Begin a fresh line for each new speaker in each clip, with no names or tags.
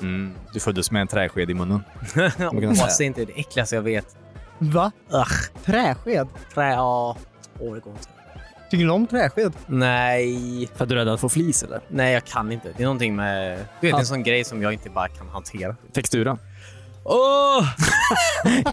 Mm. Du föddes med en träsked i munnen. man kunna säga.
Ås är inte det äckligaste jag vet.
Va?
Ugh,
Träsked?
trä... Ja. Åh, det går inte.
Tycker du om träsked?
Nej.
För att du är rädd att få flis eller?
Nej, jag kan inte. Det är någonting med... Du vet,
Ja.
en sån grej som jag inte bara kan hantera.
Textura.
Åh!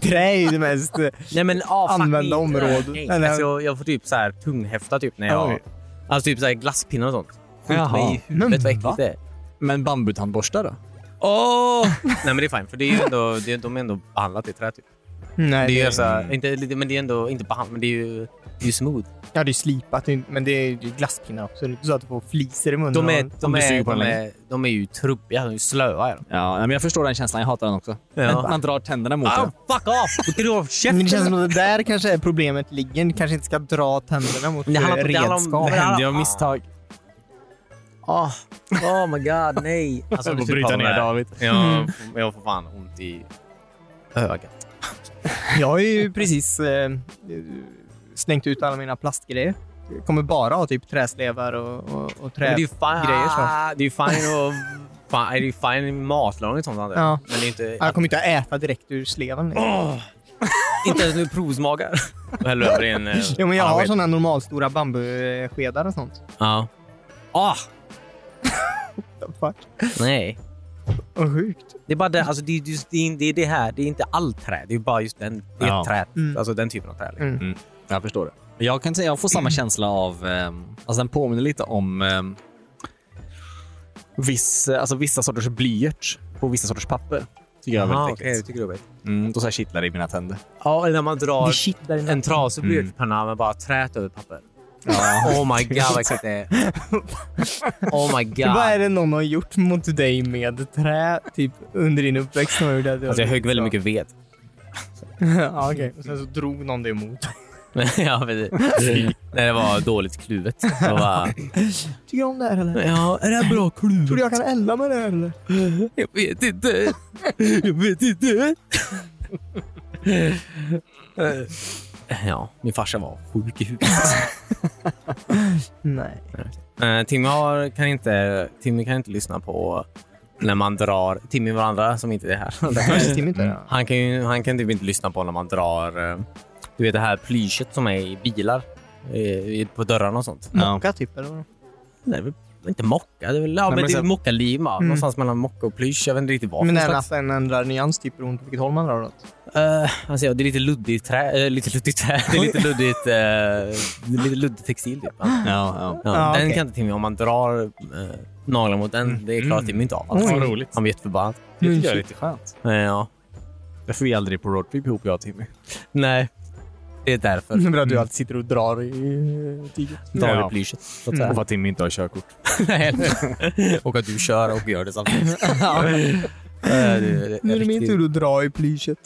Trä är det mest...
Nej men ah, fuck
Använda
me.
område.
Nej,
Eller-
Alltså, jag, jag får typ så här tunghäfta typ när jag...
Oj.
Alltså typ så här glasspinnar och sånt. Skjut
Jaha.
mig i
Men
huvudet vad
va?
äckligt det är.
Men bambutandborstar då?
Åh! Nej men det är fint för det är ju ändå, det, är- de är ändå behandlat i trä typ.
Nej,
Det är ju så här, inte, lite- men det är ändå inte behandlat, men det är ju, det är ju smooth.
Ja, det är slipat. det är inte- Men det är ju glasspinnar också. Det är inte så att du får fliser i munnen.
De är,
av den.
de
du
är,
suger på
de
den
är, de är ju trubbiga, de är ju slöa. Är de.
Ja, nej, men jag förstår den känslan. Jag hatar den också.
Ja.
Man, man drar tänderna mot
Ah,
den.
fuck off! Då kan du ha
Men det
käften!
känns som att det där kanske är problemet ligger. Ni kanske inte ska dra tänderna mot
Men det handlar
eh,
om- det handlar om-
redskap.
det handlar
Det är av misstag.
Oh, oh my god, nej. Alltså,
Jag
det
får
är typ
bryta
av de
ner
här-
David.
Jag, får- jag får fan ont i ögat.
Jag har ju precis eh, slängt ut alla mina plastgrejer. Jag kommer bara ha typ träslevar och, och, och
Men
trä...
det är ju fan,
grejer, så.
Ah, Det är ju fine och... Fan, det är ju fine i matlagning och sånt. Andra.
Ja.
Men det är inte...
Jag kommer inte äta direkt ur sleven. liksom.
Inte ens nu provsmakar. Och häller över i en... eh,
Jo, men jag har
annan sked.
såna normalstora bambuskedar och sånt.
Ja. Ah,
Fuck.
nej.
Vad sjukt.
Det är bara det, alltså det, är just, det, är- det är det här. Det är inte allt trä. Det är bara just den, det
Ja.
trä.
Mm.
Alltså den typen av trä. Liksom.
Mm.
Jag förstår det. Jag kan säga jag får samma känsla av... ehm, Alltså den påminner lite om ehm, viss, alltså, vissa sorters blyerts på vissa sorters papper. Tycker jag är
Ah,
väldigt
okej, det
äckligt.
tycker du är jobbigt.
Mm, då så här kittlar det i mina tänder.
Ja, eller när man drar
Det kittlar i
en trasig
Mm.
blyertspenna med bara trät över papper. Oh my god vad äckligt det är. Oh my god.
Vad är det någon har gjort mot dig med trä typ under din uppväxt? Som har gjort att du
Alltså jag
har-
högg väldigt mycket ved.
ja, okej. Och sen så drog någon det emot.
ja, precis. Nej, det var dåligt kluvet. Det var...
Tycker du om det här eller?
Ja, är det här bra
Tror
kluvet?
du jag kan elda med det här eller?
Jag vet inte. Jag vet inte. ja, min farsa var sjuk i huvudet.
Nej.
Eh, Timmy, har, kan inte, Timmy kan inte lyssna på när man drar... Timmy var andra som inte är här.
Kanske Timmy inte det?
han, kan ju, han kan typ inte lyssna på när man drar... eh, Du vet det här plyschet som är i bilar. eh, i- På dörrarna och sånt.
Mocka typ eller? vadå?
Nej, det är väl inte mocka. Det är väl, ja, men
men
det är
så-
mockaliv. Mm. Någonstans mellan mocka och plysch. Jag vet inte riktigt vad.
Men
för
även
slags-
att den ändrar nyans typ beroende på vilket håll man drar åt.
Eh, alltså, ja, det är lite luddigt trä. eh, lite luddigt trä. Det är lite luddigt, eh, det är lite luddigt textil. Typ. Ja.
Ja, ja.
Ja,
den
okej.
kan inte Timmy. Om man drar eh, naglar mot den, det
Mm.
klarar Timmy inte av. Alltså.
Vad roligt.
Han blir jätteförbannad.
Det tycker jag är lite skönt.
Eh, ja.
Därför vi aldrig är på roadtrip ihop, jag och Timmy.
Nej, det är därför. Mm.
Nu att du alltid sitter och drar i tyget.
Drar
Ja.
i plyschet. Så att
Och
säga.
Mm. för att Timmy inte har körkort.
Nej, eller- och att du kör och gör det samtidigt. Ja. Eh, det-
Nu är det min
riktigt-
tur att dra i plyschet.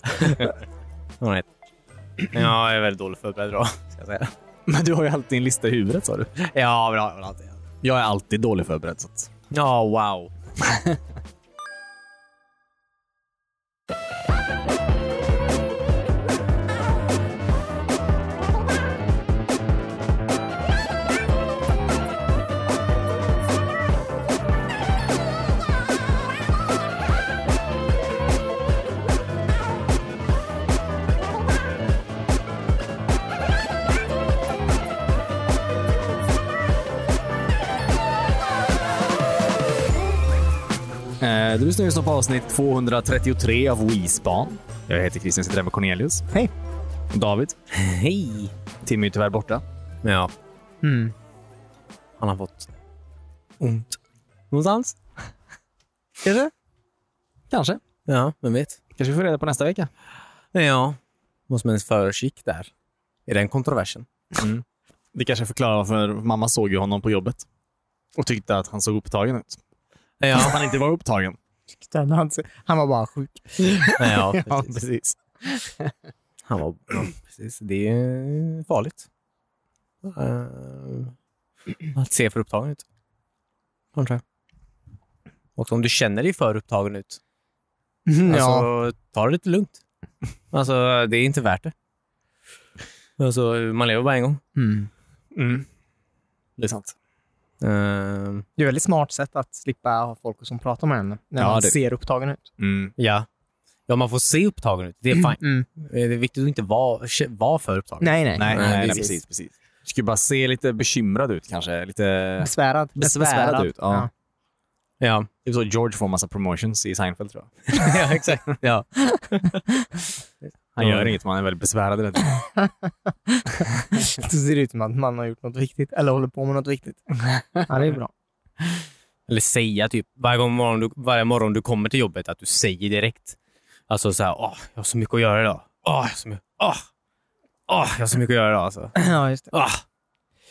All right. Ja, jag är väldigt dåligt förberedd idag, ska jag säga.
Men du har ju alltid en lista i huvudet, sa du.
Ja, bra. bra.
Jag är alltid dålig förberedd. Så att...
Ja, wow.
Eh, du lyssnar just nu på avsnitt 233 av Wispan. Jag heter Christian, sitter här med Cornelius.
Hej.
David.
Hej!
Timmy är tyvärr borta.
Ja,
Mm.
han har fått ont. Någonstans?
Är det?
Kanske.
Ja, vem vet?
Kanske vi får reda på nästa vecka.
Ja. Vad som ens föregick där. Är den kontroversen?
Det kanske förklarar varför mamma såg ju honom på jobbet och tyckte att han såg upptagen ut. Att
Ja,
han inte var upptagen.
Han, han var bara sjuk.
ja,
Ja,
precis.
precis.
Han var, ja, precis. Det är farligt. Eh, att se för upptagen ut. Kanske. Och om du känner dig för upptagen ut,
Mm, ja.
Alltså, ta det lite lugnt. Alltså, det är inte värt det. Alltså, man lever bara en gång.
Mm. Det är sant.
Ehm,
Det är ett väldigt smart sätt att slippa ha folk som pratar med en när
Ja,
man
det-
ser upptagen ut.
Mm.
ja. ja, man får se upptagen ut. Det är fint. Det är viktigt att inte vara, vara för upptagen.
Mm. Nej, nej.
Nej,
Nej,
nej, nej,
precis.
precis. precis. Du skulle bara se lite bekymrad ut kanske. Lite...
Besvärad. Lätt
Besvärad ut, ja.
Ja,
Det är Typ så George får massa promotions i Seinfeld tror jag.
ja exakt. Ja.
Han
Ja.
gör inget, man är väldigt besvärad. hela tiden.
Då ser det ut som att man har gjort något viktigt eller håller på med något viktigt. Ja, det är bra.
Eller säga typ varje, gång morgon du, varje morgon du kommer till jobbet att du säger direkt. Alltså så här, åh, jag har så mycket att göra idag. Åh, jag har så mycket, åh, åh, jag har så mycket att göra idag. Alltså.
Ja, just det.
Åh.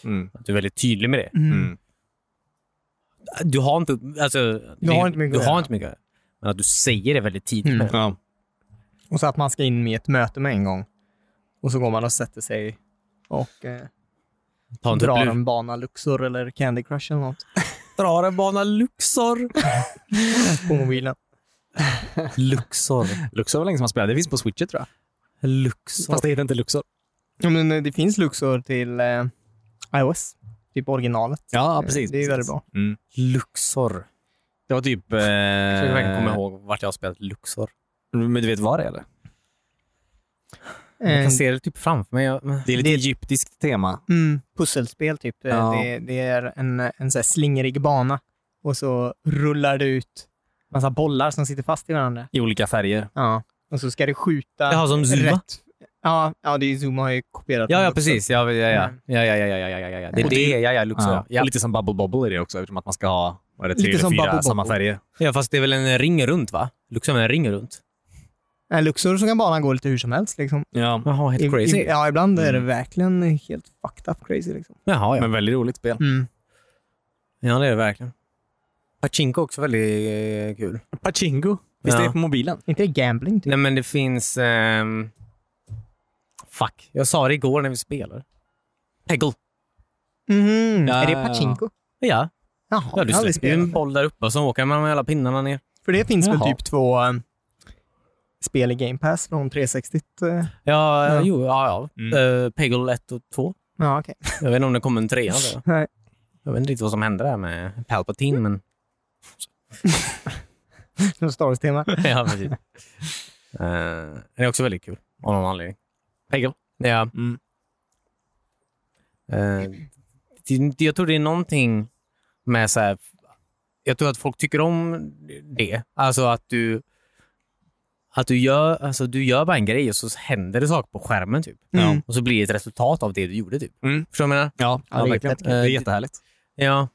Mm.
Att du är väldigt tydlig med det.
Mm.
Du har inte, alltså,
Du har inte mycket
du
att
har
göra.
inte mycket att göra. Men att du säger det väldigt tidigt.
Mm.
med.
Ja.
Och så att man ska in i ett möte med en gång. Och så går man och sätter sig och eh,
Ta en
drar
tupplur.
en bana Luxor eller Candy Crush eller något
Drar en bana Luxor.
på mobilen.
Luxor.
Luxor var länge som man spelade. Det finns på Switchet tror jag.
Luxor.
Fast det heter inte Luxor.
Ja, men eh, det finns Luxor till eh, iOS, typ originalet.
Ja, precis.
Det är
precis.
väldigt bra.
Mm.
Luxor.
Det var typ... Eh...
Jag försöker verkligen komma ihåg vart jag har spelat Luxor.
Men du vet vad det är eller?
Jag
Eh,
kan se det typ framför mig. Jag-
Det är lite egyptiskt tema.
Mm, pusselspel typ. Eh,
Ja.
Det, det är en, en så här slingrig bana och så rullar det ut massa bollar som sitter fast i varandra.
I olika färger.
Ja. Och så ska du skjuta
Jaha, som Zuma?
rätt. Ja, ja det är, Zoom har ju kopierat
Ja,
den
ja
också.
precis. Ja, ja, ja. ja, ja, ja, ja, ja, ja, ja. Det är
Och
det.
det-
Ja, ja, Luxor.
Ja.
Ja. Ja.
Och lite som Bubble Bobble är det också, eftersom att man ska ha vad är det, tre
Lite
eller
som
fyra
Bubble
samma
Bobble.
färger.
ja, fast det är väl en ring runt, va? Luxor är en ring runt.
Nej, Eh, Luxor så kan banan gå lite hur som helst. Liksom.
Ja.
Jaha, helt crazy. Mm.
I, i, ja, ibland är det verkligen helt fucked up crazy. Liksom.
Jaha, ja.
Men väldigt roligt spel.
Mm. Ja, det är det verkligen. Pachinko är också väldigt eh, kul.
Pachinko. Visst
Ja.
är det på mobilen?
Inte gambling, typ.
Nej, men det finns... ehm, Fuck. Jag sa det igår när vi spelade. Peggle.
Mhm.
Ja,
är det
ja, ja.
pachinko?
Ja,
Jaha,
Mm-hmm. ja
jag
du
har aldrig
släpper ju en
spelat.
boll där uppe och så åker man med alla pinnarna ner.
För det finns väl
Jaha.
typ två eh, spel i Game Pass från 360? eh.
Ja,
Ja.
jo, ja, ja.
Mm.
Eh, Peggle 1 och 2.
Ja, okej.
Jag vet inte om det kommer en trea. då.
Nej.
Jag vet inte riktigt vad som hände där med Palpatine, men...
Något Star Wars-tema.
ja, precis. Eh, det är också väldigt kul, av någon anledning. Pegel. Ja.
Mm.
Eh, det, jag tror det är någonting med så här... Jag tror att folk tycker om det. Alltså att du... Att du gör, alltså du gör bara en grej och så händer det saker på skärmen. typ.
Mm.
Och så blir det ett resultat av det du gjorde. typ.
Mm.
Förstår du vad jag menar?
Ja,
det
ja,
är
verkligen.
jättekul.
Det är jättehärligt.
Ja.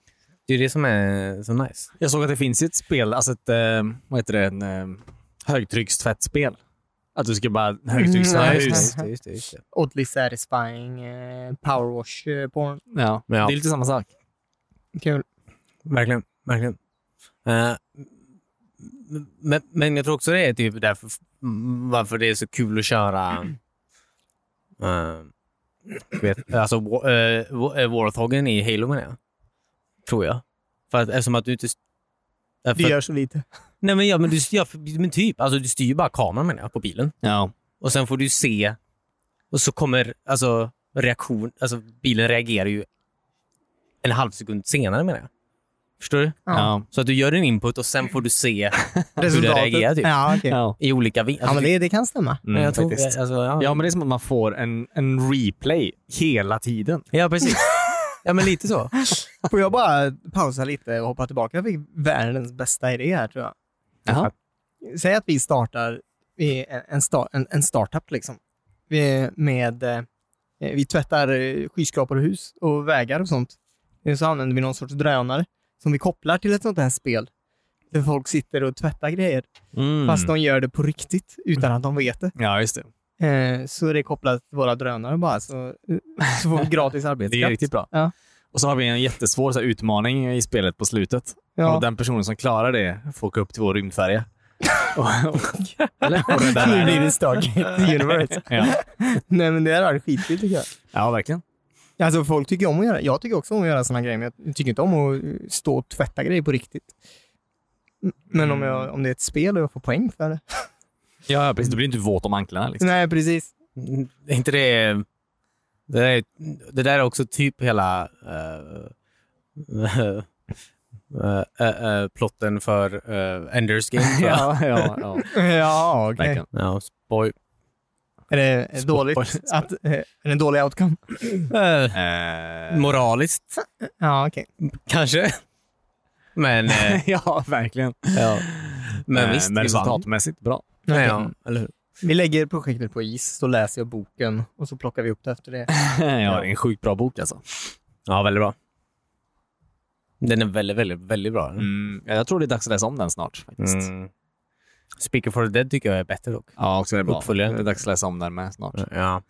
Det är det som är så nice.
Jag såg att det finns ett spel, alltså ett, eh, vad heter det, en, eh, högtryckstvättspel. Att du ska bara högtryckstvätta
Mm, ja,
hus.
just det,
just det, just det.
Oddly satisfying eh, powerwash eh, porn.
Ja.
Ja.
Det är lite samma sak.
Kul.
Verkligen. verkligen. Eh, m- men, men jag tror också det är typ därför m- varför det är så kul att köra eh, jag vet, alltså, wa- eh, wa- eh, Warthoggen i Halo menar jag. Tror jag. För att, eftersom att du inte... eh,
Du
För,
gör så lite.
nej men, ja, men, du, ja, för- men typ, alltså, du styr ju bara kameran menar jag, på bilen.
Ja.
Och sen får du se och så kommer alltså reaktion, alltså bilen reagerar ju en halv sekund senare menar jag. Förstår du?
Ja.
Ja.
Så att du gör en input och sen får du se hur den
Resultatet.
reagerar typ,
Ja, okej.
Ja.
i olika vinklar.
ja, men det, det kan stämma.
Mm,
jag tror,
faktiskt.
alltså, ja.
Ja, men det är som att man får en, en replay hela tiden.
ja, precis. ja, men lite så.
Får jag bara pausa lite och hoppa tillbaka? Jag fick världens bästa idé här tror jag.
Jaha.
Säg att vi startar vi- en, en, sta- en, en startup liksom. Vi, med, eh, vi tvättar eh, skyskrapor och hus och vägar och sånt. Eh, Så använder vi någon sorts drönare som vi kopplar till ett sånt här spel. Där folk sitter och tvättar grejer,
Mm.
fast de gör det på riktigt utan att de vet det.
Ja, just det.
Eh, så är det kopplat till våra drönare bara, så, eh, så får vi gratis arbetskraft.
Det är riktigt bra.
Ja.
Och så har vi en jättesvår så här, utmaning i spelet på slutet.
Ja.
Och den personen som klarar det får åka upp till vår rymdfärja. och, och, eller? Och rädda
Nu blir
världen.
det Stargate Universe.
Ja.
Nej, men det här är skitkul tycker jag.
ja, verkligen.
Alltså folk tycker om att göra, jag tycker också om att göra såna grejer, men jag tycker inte om att eh, stå och tvätta grejer på riktigt. M- Men om, jag, om det är ett spel och jag får poäng för det.
Ja, ja, precis. Du blir inte våt om anklarna. Liksom.
Nej, precis.
Mm, Är inte det... Det där är, det där är också typ hela eh, Eh, eh, eh, plotten för eh, Ender's Game. tror jag.
ja, ja, ja.
Ja, okej.
Verkligen.
ja, spoil.
Är det är det dåligt att... eh, Är det en dålig outcome?
Eh, moraliskt,
Ja, okej.
kanske. Men, eh,
ja, verkligen.
ja. men
Eh,
visst,
men
vi vann.
resultatmässigt bra.
Nej,
Okej.
ja, eller hur?
Vi lägger projektet på is, så läser jag boken och så plockar vi upp det efter det.
ja, det är en sjukt bra bok alltså.
Ja, väldigt bra. Den är väldigt, väldigt, väldigt bra.
Mm, jag tror det är dags att läsa om den snart. Faktiskt.
Mm. Speaker for the Dead tycker jag är bättre dock.
Ja, också är bra.
Uppföljaren.
Det är dags att läsa om den med snart.
Ja.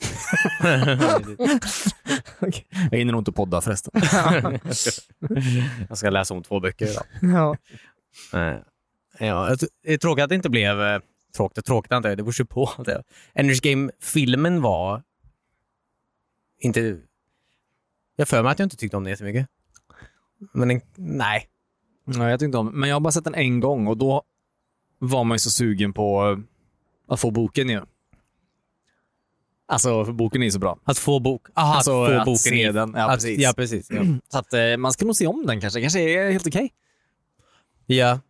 Jag hinner nog inte podda förresten.
jag ska läsa om två böcker idag.
Ja.
Eh, Ja, jag ty- det är tråkigt att det inte blev... eh, Tråkigt och tråkigt antar jag, det beror ju på. Det- Ender's Game-filmen var... Inte... Jag för mig att jag inte tyckte om den jättemycket. Men den, nej.
Nej, jag tyckte om Men jag har bara sett den en gång och då var man ju så sugen på eh, att få boken ju. Alltså, för boken är ju så bra.
Att få bok. Aha,
Alltså,
att få
att
boken
se
i-
den. Ja,
att,
precis.
Ja, precis. Mm. Ja.
Så att, eh, man ska nog se om den kanske. kanske är helt okej.
ja.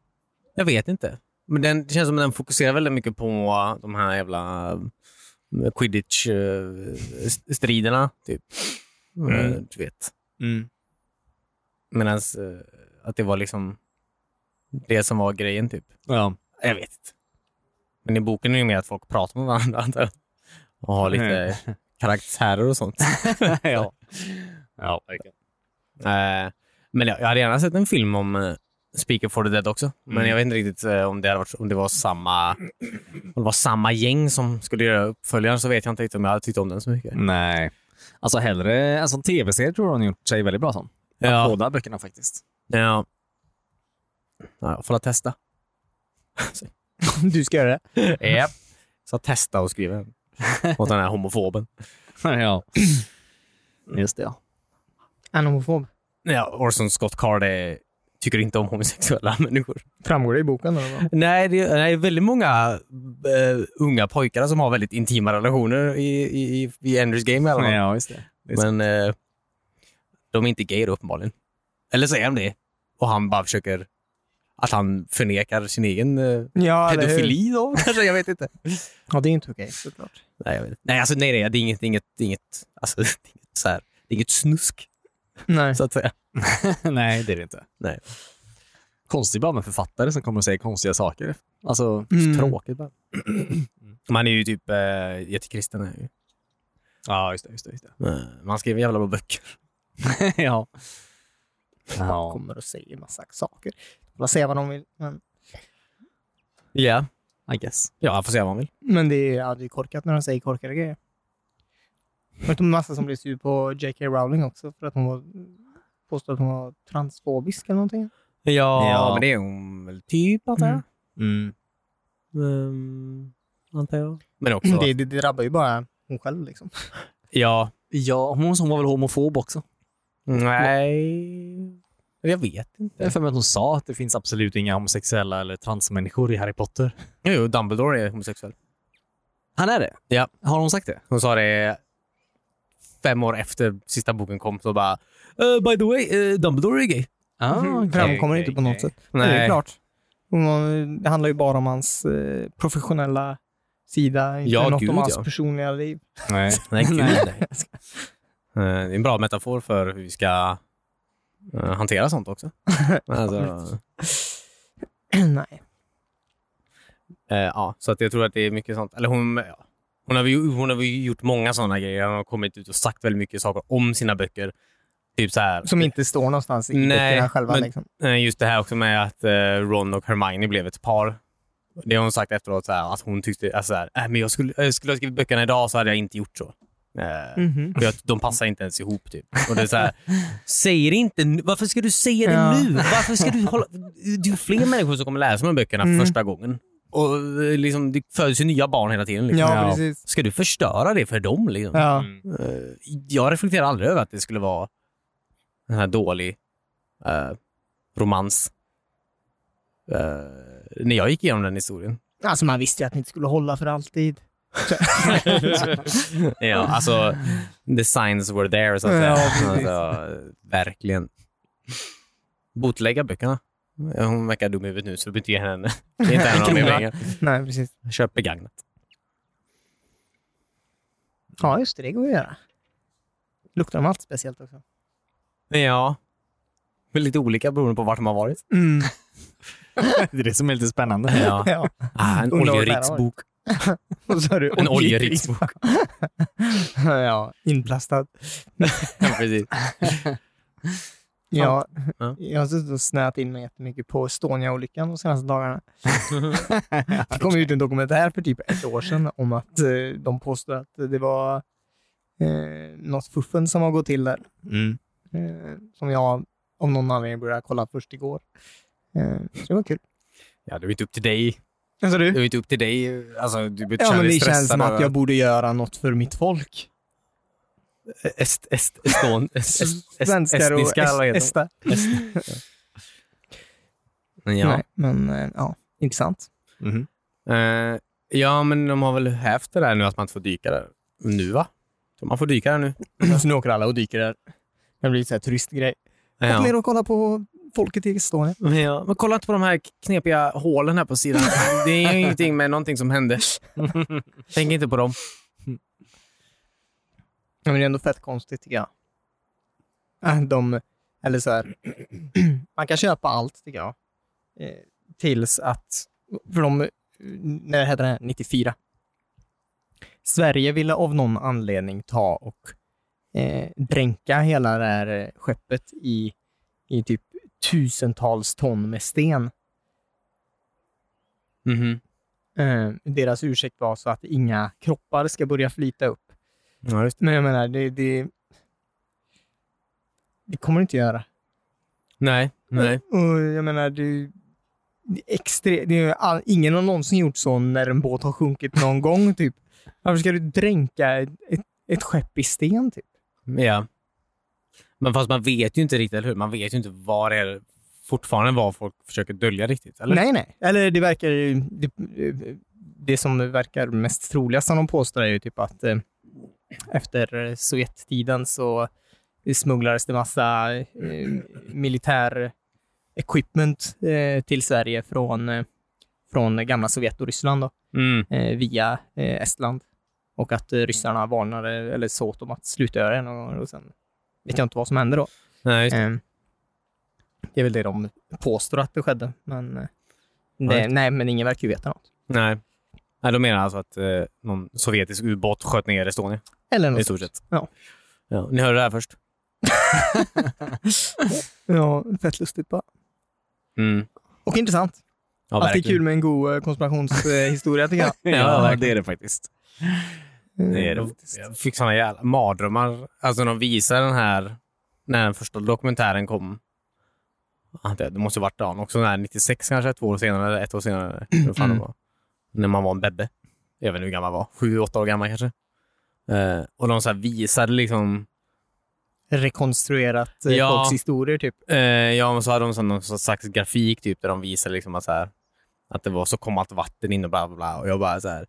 Jag vet inte. Men den, det känns som att den fokuserar väldigt mycket på de här jävla eh, quidditch-striderna. Typ. Eh, Du vet.
Mm.
Medan att det var liksom det som var grejen typ.
Ja.
Jag vet inte. Men i boken är det ju mer att folk pratar med varandra antar jag. Och har lite karaktärer och sånt.
ja. Ja, verkligen.
Eh, Men jag jag hade gärna sett en film om eh, Speaker for the Dead också. Men jag vet inte riktigt eh, om det, hade varit, om det var samma om det var samma gäng som skulle göra uppföljaren så vet jag inte riktigt om jag hade tyckt om den så mycket.
Nej. Alltså hellre... Alltså en tv-serie tror jag hon gjort sig väldigt bra som.
Ja.
Båda böckerna faktiskt.
Ja. ja jag får att testa.
Du ska göra det?
Japp. Så att testa och skriva den. Åt den här homofoben.
ja. Just det, ja.
En homofob.
Ja, Orson Scott Card är, tycker inte om homosexuella människor.
Framgår det i boken? Eller vad?
Nej, det är, nej, väldigt många eh, unga pojkar som har väldigt intima relationer i, i, i- i Enders Game i alla fall.
Ja, just det. det är så.
Men eh, de är inte gay då uppenbarligen. Eller så är de det. Och han bara försöker... Att han förnekar sin egen eh,
Ja, eller hur?
pedofili då kanske? Jag vet inte.
Ja, det är inte okej såklart.
Nej, jag vet. nej, alltså, nej, nej det är inget, det är inget, det är inget, alltså, det är inget, så här, det är inget snusk
Nej.
så att säga.
Nej, det är det inte.
Nej.
Konstigt bara med författare som kommer och säger konstiga saker. Alltså,
Mm.
tråkigt bara.
Man är ju typ eh, jättekristen. är ju.
Ja, just det. Just det, just
Eh, Man skriver jävla bra böcker.
det. ja.
Folk
ja.
kommer och säger massa saker. Alla säger vad de vill. Men,
Ja.
I guess.
Ja, han får säga vad han vill.
men det är aldrig korkat när de säger korkade grejer. Jag vet en massa som blev sur på J.K. Rowling också för att hon var, påstod att hon var transfobisk eller någonting.
Ja,
Ja.
men det är hon väl typ, antar jag.
Mm.
Mm.
Ehm, antar jag. Men också...
Det, det, det drabbar ju bara hon själv liksom.
Ja.
Ja, hon som var väl homofob också.
Nej... Jag vet
Jag har
inte.
för mig att hon sa att det finns absolut inga homosexuella eller transmänniskor i Harry Potter.
Jo, jo, Dumbledore är homosexuell.
Han är det?
Ja.
Har hon sagt det?
Hon sa det fem år efter sista boken kom. Så bara... "Eh, by the way, eh, Dumbledore är gay.
Ah, okej,
Framkommer
okej,
inte på något
okej.
sätt. Nej. Det är klart. Hon- Det handlar ju bara om hans eh, professionella sida, inte
Ja,
något
gud,
om hans
ja.
personliga liv.
Nej.
Nej, gud, nej. Eh, Det är en bra metafor för hur vi ska eh, hantera sånt också. Alltså,
Nej.
Eh, ja, så att jag tror att det är mycket sånt. Eller hon, ja. hon, har, ju- hon har ju gjort många sådana grejer. Hon har kommit ut och sagt väldigt mycket saker om sina böcker. Typ så här.
Som inte står någonstans i
Nej,
böckerna själva.
men-
liksom.
eh, Just det här också med att eh, Ron och Hermione blev ett par. Det har hon sagt efteråt, så här, att hon tyckte alltså, så här, äh, men jag skulle, jag skulle ha skrivit böckerna idag så hade jag inte gjort så. Eh,
Mhm.
för jag, de passar inte ens ihop. Typ. Och det är så här, säg det inte nu. Varför ska du säga det
Ja.
nu? Varför ska du hålla... Det är fler människor som kommer läsa de här böckerna för
Mm.
första gången. Och eh, liksom, Det föds ju nya barn hela tiden. Liksom.
Ja, precis.
Ska du förstöra det för dem? Liksom?
Ja.
Mm.
Eh, Jag reflekterar aldrig över att det skulle vara en här dålig eh, romans. Eh, när jag gick igenom den historien.
Alltså man visste ju att ni inte skulle hålla för alltid.
ja, alltså, the signs were there, så att
Ja,
säga.
precis.
alltså, verkligen. Botlägga böckerna. Ja, Hon verkar dum i huvudet nu, så vi behöver inte ge henne. Det är inte henne någon mer pengar.
Nej, precis.
Köp begagnat.
Ja, just det. Det går att göra. Luktar de allt speciellt också?
Ja. Men lite olika beroende på vart de har varit.
Mm.
Det är det som är lite spännande.
Ja.
Ja.
Ah, en
Undrar vad det här
oljeriksbok.
Och så har du
En oljeriksbok.
ja, inplastad.
Ja, precis.
Ja,
Ja.
Jag har suttit och snöat in mig jättemycket på Estonia-olyckan de senaste dagarna. Det kom ut en dokumentär för typ ett år sedan om att eh, de påstår att det var eh, något fuffen som har gått till där.
Mm.
Eh, som jag av någon anledning började kolla först igår. Eh, så det var kul.
Ja, det är inte upp till dig.
Alltså
Det
du?
är inte upp till dig. Alltså, du behöver inte
Ja,
känna
men
dig
det känns
stressad
som
över
att jag borde göra något för mitt folk.
Est, est, eston, est, est,
Svenskar och
estniska, eller vad
est-
heter
esta.
de? Est- ja.
Nej, men eh, ja, intressant.
Mm.
Eh, ja, men de har väl hävt det där nu att man inte får dyka där. Nu va? Så man får dyka där nu.
Så nu åker alla och dyker där. Det blir så här turistgrej. Åk ner
Ja.
och kolla på folket i Estonia.
Men, ja. men kolla inte på de här knepiga hålen här på sidan. Det är ju ingenting med någonting som hände. Tänk inte på dem.
Ja, men det är ändå fett konstigt tycker jag. Äh, De, eller så här, man kan köpa allt tycker jag. Eh, Tills att, för de, när hette det här, 94. Sverige ville av någon anledning ta och eh, dränka hela det här eh, skeppet i, i typ tusentals ton med sten.
Mhm.
Eh, deras ursäkt var så att inga kroppar ska börja flyta upp.
Ja, just det.
Men jag menar, det, det, det kommer det inte göra.
Nej, nej.
Och jag menar, det, det är extre, det är all, ingen har någonsin gjort så när en båt har sjunkit någon gång. Typ. Varför ska du dränka ett, ett, ett skepp i sten? Typ?
Ja. Men fast man vet ju inte riktigt, eller hur? Man vet ju inte vad det är fortfarande vad folk försöker dölja riktigt. Eller?
Nej, nej. Eller det verkar ju- det, det som verkar mest troligast som de påstår är ju typ att eh, efter Sovjettiden så smugglades det massa eh, militär equipment eh, till Sverige från, eh, från gamla Sovjet och Ryssland då,
Mm.
eh, via eh, Estland. Och att eh, ryssarna varnade eller sa åt dem att sluta göra det någon gång och sen vet jag inte vad som hände då.
Nej, just det.
Ehm, Det är väl det de påstår att det skedde, men, eh, det,
Nej.
nej, men ingen verkar ju veta något.
Nej. Nej, de menar alltså att eh, någon sovjetisk ubåt sköt ner Estonia
Eller
i
något.
stort sett.
Mm. Ja.
Ja, ni hörde det här först.
Ja, fett lustigt bara.
Mm.
Och intressant.
Ja,
Alltid
verkligen.
kul med en god eh, konspirationshistoria tycker jag.
Ja,
det är det faktiskt.
Det är det. Eh, Jag fick såna jävla mardrömmar. Alltså de visar den här, när den första dokumentären kom. Ja, Det det måste ju varit ja, också när 96 kanske, två år senare, eller ett år senare. Hur fan det var. När man var en bebbe. Jag vet inte hur gammal man var. Sju, åtta år gammal kanske. Eh, och de så här visade liksom
Rekonstruerat eh,
Ja.
folks historier typ.
Eh, ja, men så hade de sån, någon slags grafik typ, där de visade liksom att, så här, att det var så kom allt vatten in och bla bla bla. Och jag bara så här,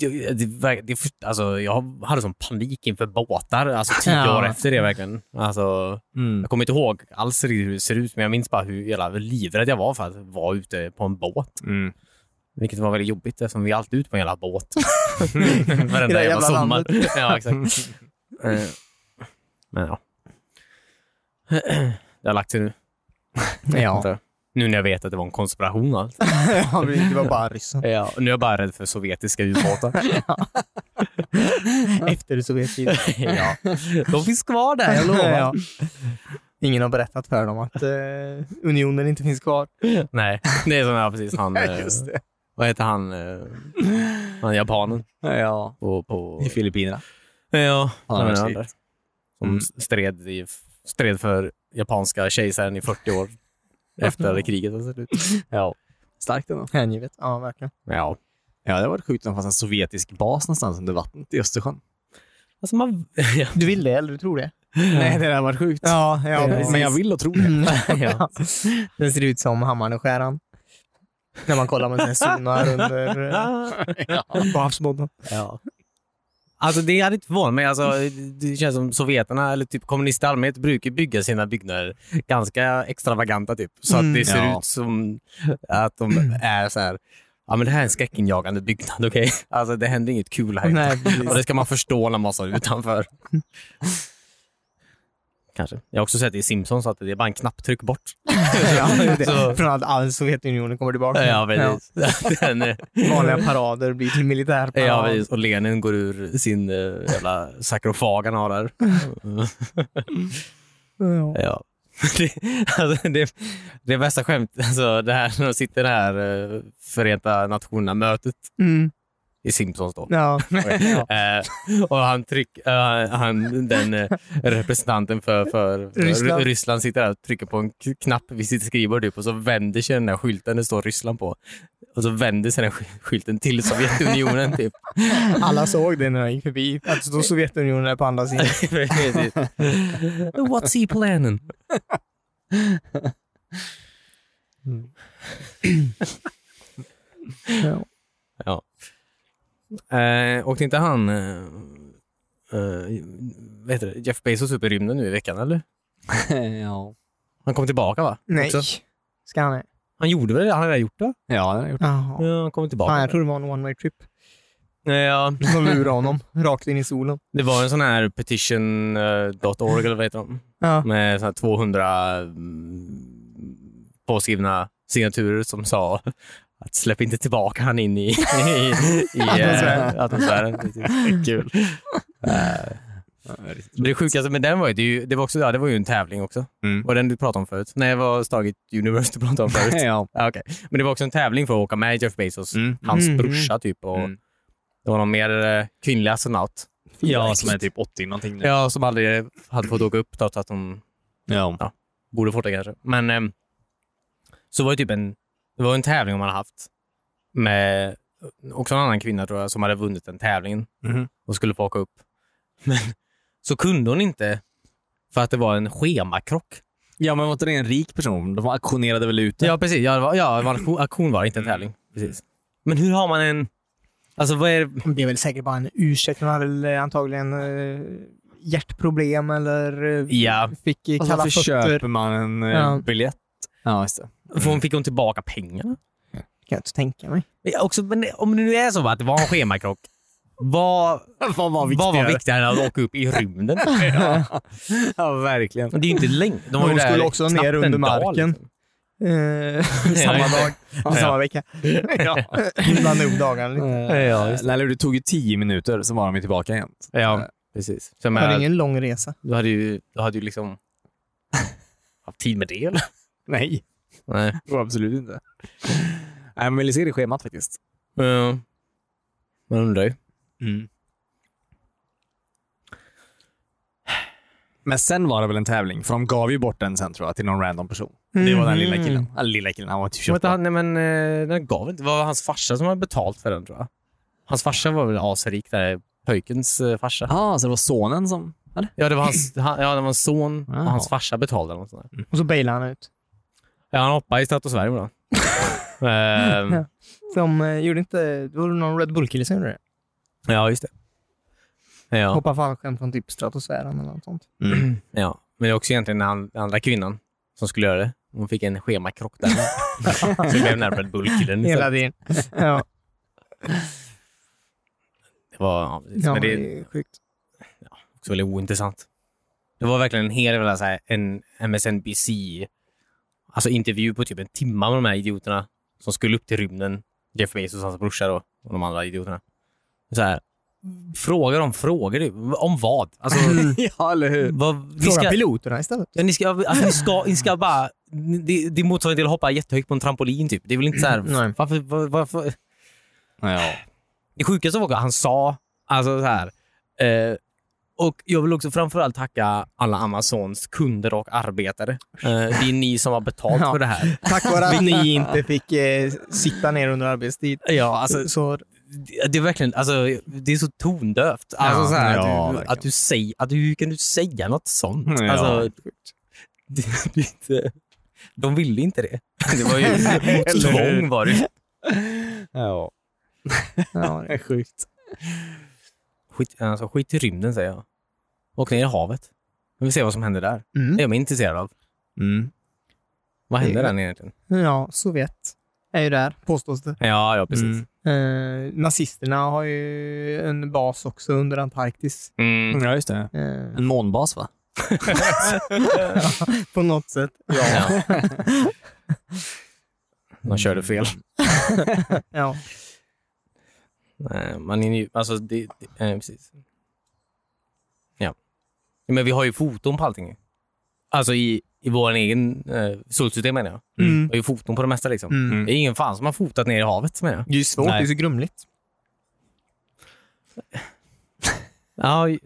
det, det, verk- det, först- alltså, jag hade sån panik inför båtar, alltså tio
Ja.
år efter det verkligen. Alltså,
Mm.
jag kommer inte ihåg alls riktigt hur det ser ut, men jag minns bara hur jävla livrädd jag var för att vara ute på en båt.
Mm.
Vilket var väldigt jobbigt eftersom vi är alltid ute på en jävla båt.
I det
Varenda
här
jävla
jävla
sommar.
landet.
ja, exakt. Eh, men ja. Det har lagt sig nu.
Ja,
Vänta. Nu när jag vet att det var en konspiration och allt.
Ja, men det var bara ryssen.
Ja, nu är jag bara rädd för sovjetiska ubåtar.
Efter Sovjettiden.
ja. De finns kvar där, jag lovar.
Ja. Ingen har berättat för dem att eh, unionen inte finns kvar.
Nej, det är som jag precis han... eh, Vad heter han? eh, Han japanen
Ja.
på... på
I Filippinerna.
ja,
Ja,
han är
precis.
den andra. Som
Mm.
stred, i, stred för japanska kejsaren i 40 år efter kriget var slut. Ja.
Starkt ändå.
Hängivet. Ja, verkligen.
ja.
Ja, det hade varit sjukt om det fanns en sovjetisk bas någonstans under vattnet i Östersjön.
Alltså man... ja.
Du vill det, eller du tror det?
Nej, det hade varit sjukt.
Ja, ja
Eh, Men jag vill och tror det.
ja. Den ser ut som hammaren och skäran. När man kollar med sina zonar under eh, på havsbotten.
Ja. Alltså det hade inte förvånat mig. Alltså, det känns som sovjeterna, eller typ kommunister i allmänhet, brukar bygga sina byggnader ganska extravaganta typ. Så
Mm.
att det ser
Ja.
ut som att de är så här, ja men det här är en skräckinjagande byggnad, okej? Alltså det händer inget kul här inne.
Nej, precis.
Och det ska man förstå när man står utanför. Kanske. Jag har också sett i Simpsons att det är bara en knapptryck bort.
ja,
Så-
det. Från att all Sovjetunionen kommer tillbaka.
Ja, precis. Den är-
Vanliga parader blir till militärparad.
Ja, precis. Och Lenin går ur sin eh, jävla sakrofag han har där.
Ja.
Ja. Det, alltså, det, det är bästa skämt, alltså, det här när de sitter i det här eh, Förenta Nationerna-mötet
Mm.
i Simpsons då.
Ja.
Eh, och han tryck, eh, han, den eh, representanten för, för, för
Ryssland.
Ryssland. sitter där och trycker på en k- knapp vid sitt skrivbord typ, och så vänder sig den där skylten det står Ryssland på. Och så vänder sig den sk- skylten till Sovjetunionen. typ.
Alla såg det när de gick förbi. Att det står Sovjetunionen där på andra sidan.
Precis. What's he planning?
Ja.
Eh, åkte inte han eh, eh, vad heter det? Jeff Bezos upp i rymden nu i veckan eller?
ja.
Han kom tillbaka va?
Nej.
Också?
Ska han det?
Han gjorde väl det? Han hade redan gjort det?
Ja, det har jag gjort.
Jaha.
Ja, han kom tillbaka. Eh,
Fan, jag trodde det var en one way trip.
Ja,
De lurade honom rakt in i solen.
det var en sån här petition.org eller vad heter de?
Ja.
Med sån här 200 mm, påskrivna signaturer som sa att släpp inte tillbaka han in i, i, i
Atmosfären.
eh, atmosfären. typ
Kul.
Eh, Det sjukaste med den var ju, det, är ju- det var också, ja, det var ju en tävling också.
Mm.
Var den du pratade om förut? Nej, det var Stargate Universe du pratade om förut.
ja.
Ja, okej. Men det var också en tävling för att åka med Jeff Bezos,
Mm.
hans
Mm.
brorsa typ. Och
Mm.
Det var någon mer eh, kvinnlig astronaut.
ja, som är typ 80 någonting nu.
Ja, som aldrig hade fått åka upp trots att de
Ja.
borde fått det kanske. Men ehm, så var det typ en, det var en tävling man hade haft med också en annan kvinna tror jag som hade vunnit den tävlingen
Mhm.
och skulle få åka upp. Men så kunde hon inte för att det var en schemakrock.
ja, men var inte det en rik person? De auktionerade väl ut det?
Ja, Mm. precis. Ja, det var, ja, det var en auktion- auktion var det, inte en tävling. Precis. Men hur har man en... Alltså vad är det?
Det är väl säkert bara en ursäkt. Han hade väl antagligen eh, hjärtproblem eller eh,
Ja.
fick eh,
Och
kalla
varför
fötter.
köper man en eh,
Ja.
biljett? Ja, just det.
För hon fick hon tillbaka pengarna?
Kan jag inte tänka mig.
Men jag Också, men om det nu är så att det var en schemakrock, vad,
Vad var
vad var viktigare än att åka upp i rymden?
Ja, verkligen.
Det är ju inte länge. De var
Hon
ju där
skulle också
knappt
ner
en
under
dag,
marken.
liksom.
Eh, samma dag, samma vecka.
ja. Mm.
Blanda upp dagarna lite.
ja, just det. Nej, det tog ju tio minuter, så var de ju tillbaka igen.
Ja, precis. Så jag
Det var
menar,
ingen lång resa.
du hade ju, du hade ju liksom haft tid med det eller?
Nej,
Nej.
det var absolut inte. Nej, men vi ser det i schemat faktiskt.
Ja. Man undrar ju.
Men sen var det väl en tävling, för de gav ju bort den sen tror jag till någon random person. Det
Mhm.
var den lilla killen. Den lilla killen, han var typ
Vänta,
28.
han, nej, men eh, den gav inte. Det var hans farsa som hade betalt för den tror jag. Hans farsa var väl asrik där. Pöjkens eh, farsa.
Ja, så det var sonen som hade?
Ja, det var hans, han, ja, det var en son och
Wow.
hans farsa betalade eller något sånt där.
Och så bailade han ut.
Ja, han hoppade i stratosfären ibland. Ehm,
De eh, gjorde inte... Det var någon Red Bull-kille som gjorde det.
ja, just det. Ja,
Hoppa fallskärm från typ stratosfären eller något sånt.
ja. Men det är också egentligen den an- andra kvinnan som skulle göra det. Hon fick en schemakrock där. Så det blev närmare bullkillen
Hela
istället.
tiden. Ja,
Det var, ja, precis.
ja,
men det är
det är sjukt.
också väldigt ointressant. Det var verkligen en hel jävla så här, en MSNBC alltså intervju på typ en timme med de här idioterna som skulle upp till rymden. Jeff Bezos, hans brorsa då, och de andra idioterna. Så här, frågar om frågor. typ. Om vad? Alltså,
ja, eller hur?
vad ni,
Eh, Fråga
ska,
piloterna istället.
ja, ni, ska, alltså, ni, ska, ni ska bara... Det, det är motsvarande till att hoppa jättehögt på en trampolin. Typ. Det är väl inte så här...
Nej.
Varför, var, varför,
Ja.
det sjukaste var att han sa, alltså så här, eh, och jag vill också framförallt tacka alla Amazons kunder och arbetare. Eh, det är ni som har betalt
Ja.
för det här.
Tack vare att ni inte fick eh, sitta ner under arbetstid.
Ja,
Så,
alltså,
så
det- det är verkligen, alltså, det är så tondövt. Alltså,
Ja,
så här,
ja,
att, du,
verkligen.
att du säger, att du, hur kan du säga något sånt?
Ja.
Alltså, det, det är inte, de ville inte det. Det var ju mot
Eller hur?
tvång var det.
ja.
ja, det-
är sjukt.
Skit, alltså, skit i rymden säger jag. Åk ner i havet. Vi ser vad som händer där. Det är jag mig intresserad av.
Mm.
Vad
Det-
händer där egentligen?
Ja, Sovjet är ju där, påstås det.
Ja, ja precis.
Mm.
Eh, nazisterna har ju en bas också under Antarktis.
Mm.
Ja, just det.
Eh,
En månbas, va?
på något sätt.
Ja. De körde fel.
Ja.
Nej, man är ju, alltså det, det eh, precis. Ja. Men vi har ju foton på allting. Alltså i, i vår egen eh, solsystem menar jag. Vi
Mm.
har ju foton på det mesta liksom.
Mm.
Det är ingen fan som har fotat ner i havet menar jag.
Det är ju svårt,
Nej.
det är så grumligt.
Ja, ja.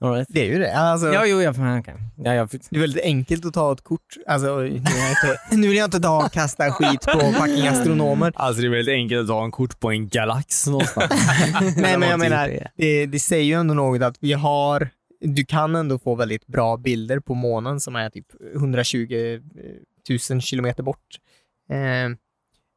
All right.
Det är ju det. Alltså,
Ja, jo, jag fan kan. Ja, jag,
Det är väldigt enkelt att ta ett kort. Alltså, oj, nu vill jag inte, nu vill jag inte ta och kasta skit på fucking astronomer.
Alltså, det är väldigt enkelt att ha en kort på en galax någonstans.
Nej, men jag
typ
inte
menar,
gjort
det, det säger ju ändå något att vi har... Du kan ändå få väldigt bra bilder på månen som är typ 120 000 kilometer bort. Eh,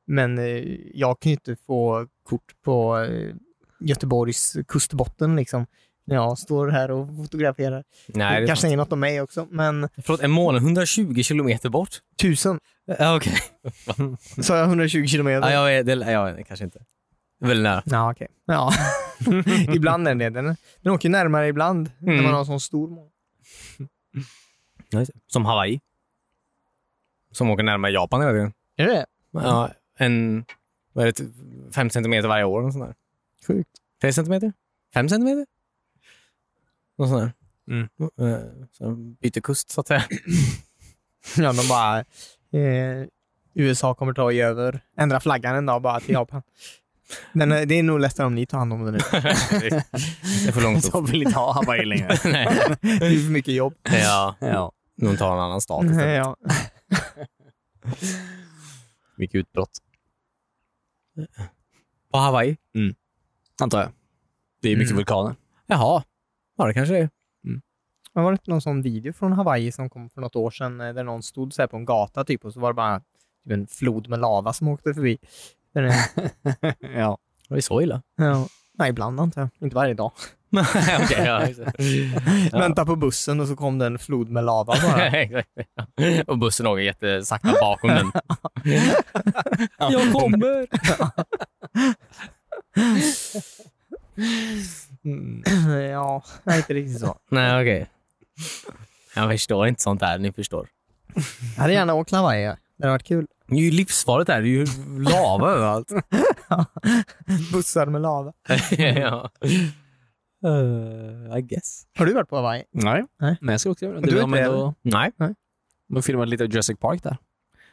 men eh, jag kan ju inte få kort på eh, Göteborgs kustbotten liksom. När jag står här och fotograferar.
nej, det
det
är
kanske
sant.
säger något om mig också, men
Förlåt, en månad 120 kilometer bort?
tusen.
Ja, okej.
Sa jag 120 kilometer?
Ja, jag vet, det, ja, det kanske inte. Väldigt nära.
Ja, okej. Ja. ibland är det den. Den åker närmare ibland när
Mm.
man har en sån stor måne.
Som Hawaii. Som åker närmare Japan hela tiden.
Är det
Ja, en, vad är det, Typ fem centimeter varje år. och sånt där.
Sjukt.
Tre centimeter? Fem centimeter? Något sånt där.
Mm.
Eh, Så byter kust, så att säga.
Ja, de bara... Eh, USA kommer ta i över. Ändra flaggan en dag bara till Japan. Den är, det är nog lättare om ni tar hand om den nu.
Det är för långt upp.
De vill inte ha Hawaii längre.
Nej.
Det är för mycket jobb.
Ja,
ja.
de tar en annan stat istället.
Ja.
Mycket utbrott,
På Hawaii?
antar jag. Det är mycket
Mm.
vulkaner.
Jaha. Ja, det kanske det är.
Men var det inte någon sån video från Hawaii som kom för något år sedan eh, där någon stod så här på en gata typ och så var det bara typ en flod med lava som åkte förbi. Den är,
ja.
Var det så illa?
ja. Nej, ibland antar jag. Inte varje dag.
Nej, okej. ja, just Ja.
Vänta på bussen och så kom det en flod med lava bara.
det. Exakt. Och bussen åker jättesakta bakom den.
Jag kommer!
ja, nej, inte riktigt så.
Nej, okej. Jag förstår inte sånt där. Ni förstår.
Jag hade gärna åkt Hawaii. Det hade varit kul.
Det är ju livsfarligt där. Det är ju lava överallt.
Bussar med lava.
ja. Uh, I guess.
Har du varit på Hawaii?
Nej.
Nej.
men jag ska också göra det.
Du
Du
är
de,
inte
ändå,
Nej.
de filmade lite av Jurassic Park där.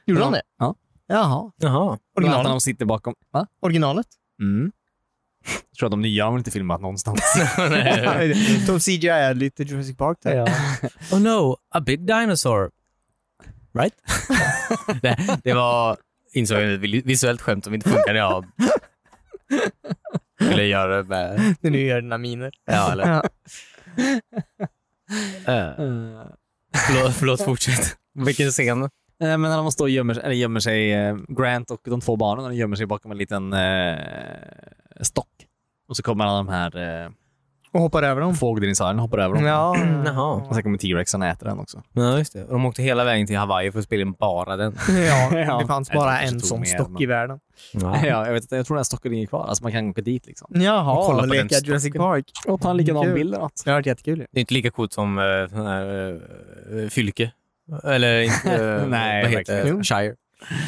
Gjorde
Ja.
de det?
Ja.
Jaha.
Jaha.
Bland annat när
Originalet?
de sitter bakom... Va?
Originalet?
Mm. Jag tror att de nya har väl inte filmat någonstans.
de CGI är lite Jurassic Park där.
Oh no, a big dinosaur. Right? det, det var, insåg jag, ett visuellt skämt som inte funkade. Jag ville göra det med...
När du gör dina miner.
Ja, eller,
Ja.
eh, förlåt, förlåt, fortsätt. Vilken scen?
Nej, men när de står och gömmer, eller gömmer sig, eh, Grant och de två barnen, de gömmer sig bakom en liten eh, stock. Och så kommer alla de här eh,
Och hoppar över dem.
fågeldinosaurierna och hoppar över dem.
Ja.
Och sen kommer T-rexen och äter den också.
Ja, just det. Och de åkte hela vägen till Hawaii för att spela in bara den.
ja,
Ja.
det fanns
Jag tror
bara
kanske
en
tog
sån
med
stock
en.
i världen.
Ja, jag, vet, inte, jag tror den här stocken ligger kvar. Alltså man kan åka dit liksom.
Jaha,
Och kolla
och
på den
leka
stocken.
Jurassic Park.
Och ta en likadan
Kul.
bild eller något.
Det har varit jättekul. ju.
Det är inte lika coolt som eh, sån här, eh, Fylke. Eller inte... eh,
Nej,
vad heter
verkligen.
det? Shire.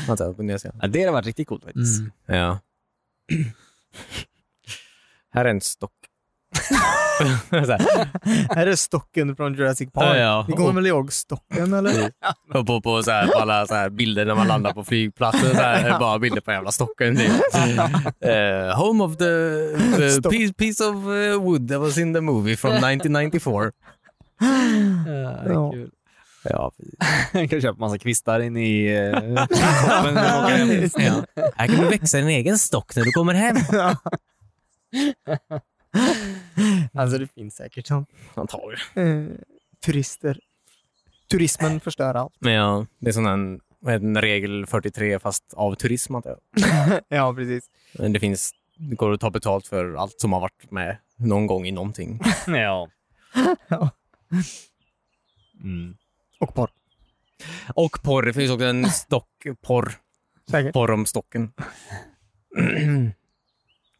Vänta, på Nya Zeeland.
Ja, det hade varit riktigt coolt faktiskt.
Ja. Här är en stock. Så här,
Här är stocken från Jurassic Park.
Ja, ja.
Ni kommer väl ihåg stocken eller?
och på, på, så här, på alla så här, bilder när man landar på flygplatsen. Så här, är det bara bilder på jävla stocken. Typ. Eh, home of the eh,
Stock.
piece, piece of eh, wood that was in the movie from 1994.
Mm.
Ja.
Ja,
kan köpa massa kvistar in i eh, kroppen när man åker hem.
ja. Här kan du växa din egen stock när du kommer hem.
Alltså det finns säkert sånt.
Antagligen.
Eh, turister. Turismen förstör allt.
Men ja, det är sån en, en regel 43 fast av turism antar jag.
Ja, precis.
Men det finns det går att ta betalt för allt som har varit med någon gång i någonting.
Ja.
Ja.
Mm.
Och porr.
Och porr. Det finns också en stockporr.
Säkert.
Porr om stocken.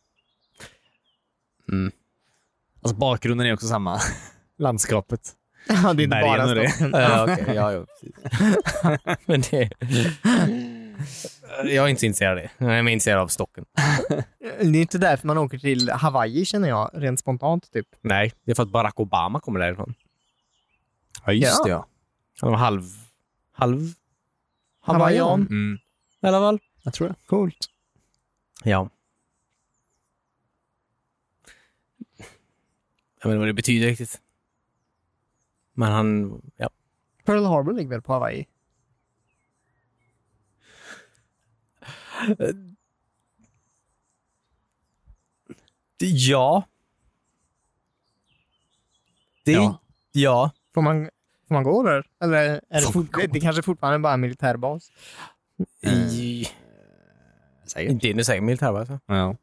Alltså bakgrunden är också samma. Landskapet.
Ja, det är inte
Bergen
bara
och det.
stocken.
Ja, okej. Ja, ja, precis. Men det... Jag är inte så intresserad av det. Jag är mer intresserad av stocken.
Eh, Det är inte därför man åker till Hawaii känner jag, rent spontant typ.
Nej, det är för att Barack Obama kommer därifrån.
Ja,
just
det. Ja.
Han var halv... Halv...
Hawaiian.
Hawaiian
Mm.
i alla fall.
Jag tror det.
Coolt.
Ja. Jag vet inte vad det betyder riktigt. Men han... Ja.
Pearl Harbor ligger väl på Hawaii?
Eh, Ja. Det, ja.
Ja.
ja.
Får man, får man gå där? Eller är det,
Får
fort, det, det kanske fortfarande bara är en militärbas?
I,
Säkert.
det är nu säkert militärbas. va?
Ja.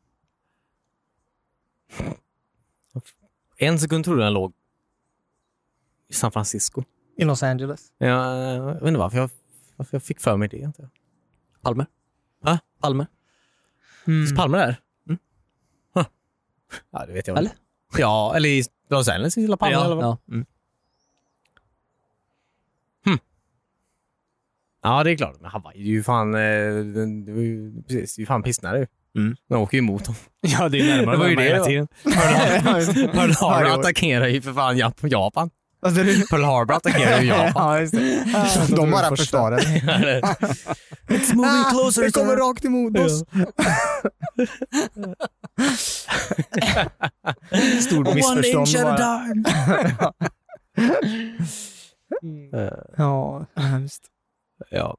En sekund trodde jag den låg i San Francisco.
I Los Angeles?
Jag, jag vet inte varför jag, varför jag fick för mig det. Inte.
Palme.
Va?
Palme.
Finns Palme där? Huh. Mm. Ja, det vet jag väl.
Eller?
Ja, eller i Los Angeles i La Palma.
ja.
eller vad?
ja. Mm.
Ja, det är klart. Men Hawaii, det är ju fan... eh, den- Det var ju, precis, det är ju fan pissnare ju.
Mm.
De åker ju emot dem.
ja, det är närmare
Det var ju
än
det,
hela
ja.
tiden.
Pearl Harbor
Varje år.
attackerar ju för fan Jap- Japan.
Vad sa du?
Pearl Harbor attackerar ju Japan.
Ja, just det. De bara försvarar.
It's moving closer.
Det Ah, kommer
sir.
rakt emot oss. Stort missförstånd. bara.
time. Eh,
Ja, hemskt.
Ja.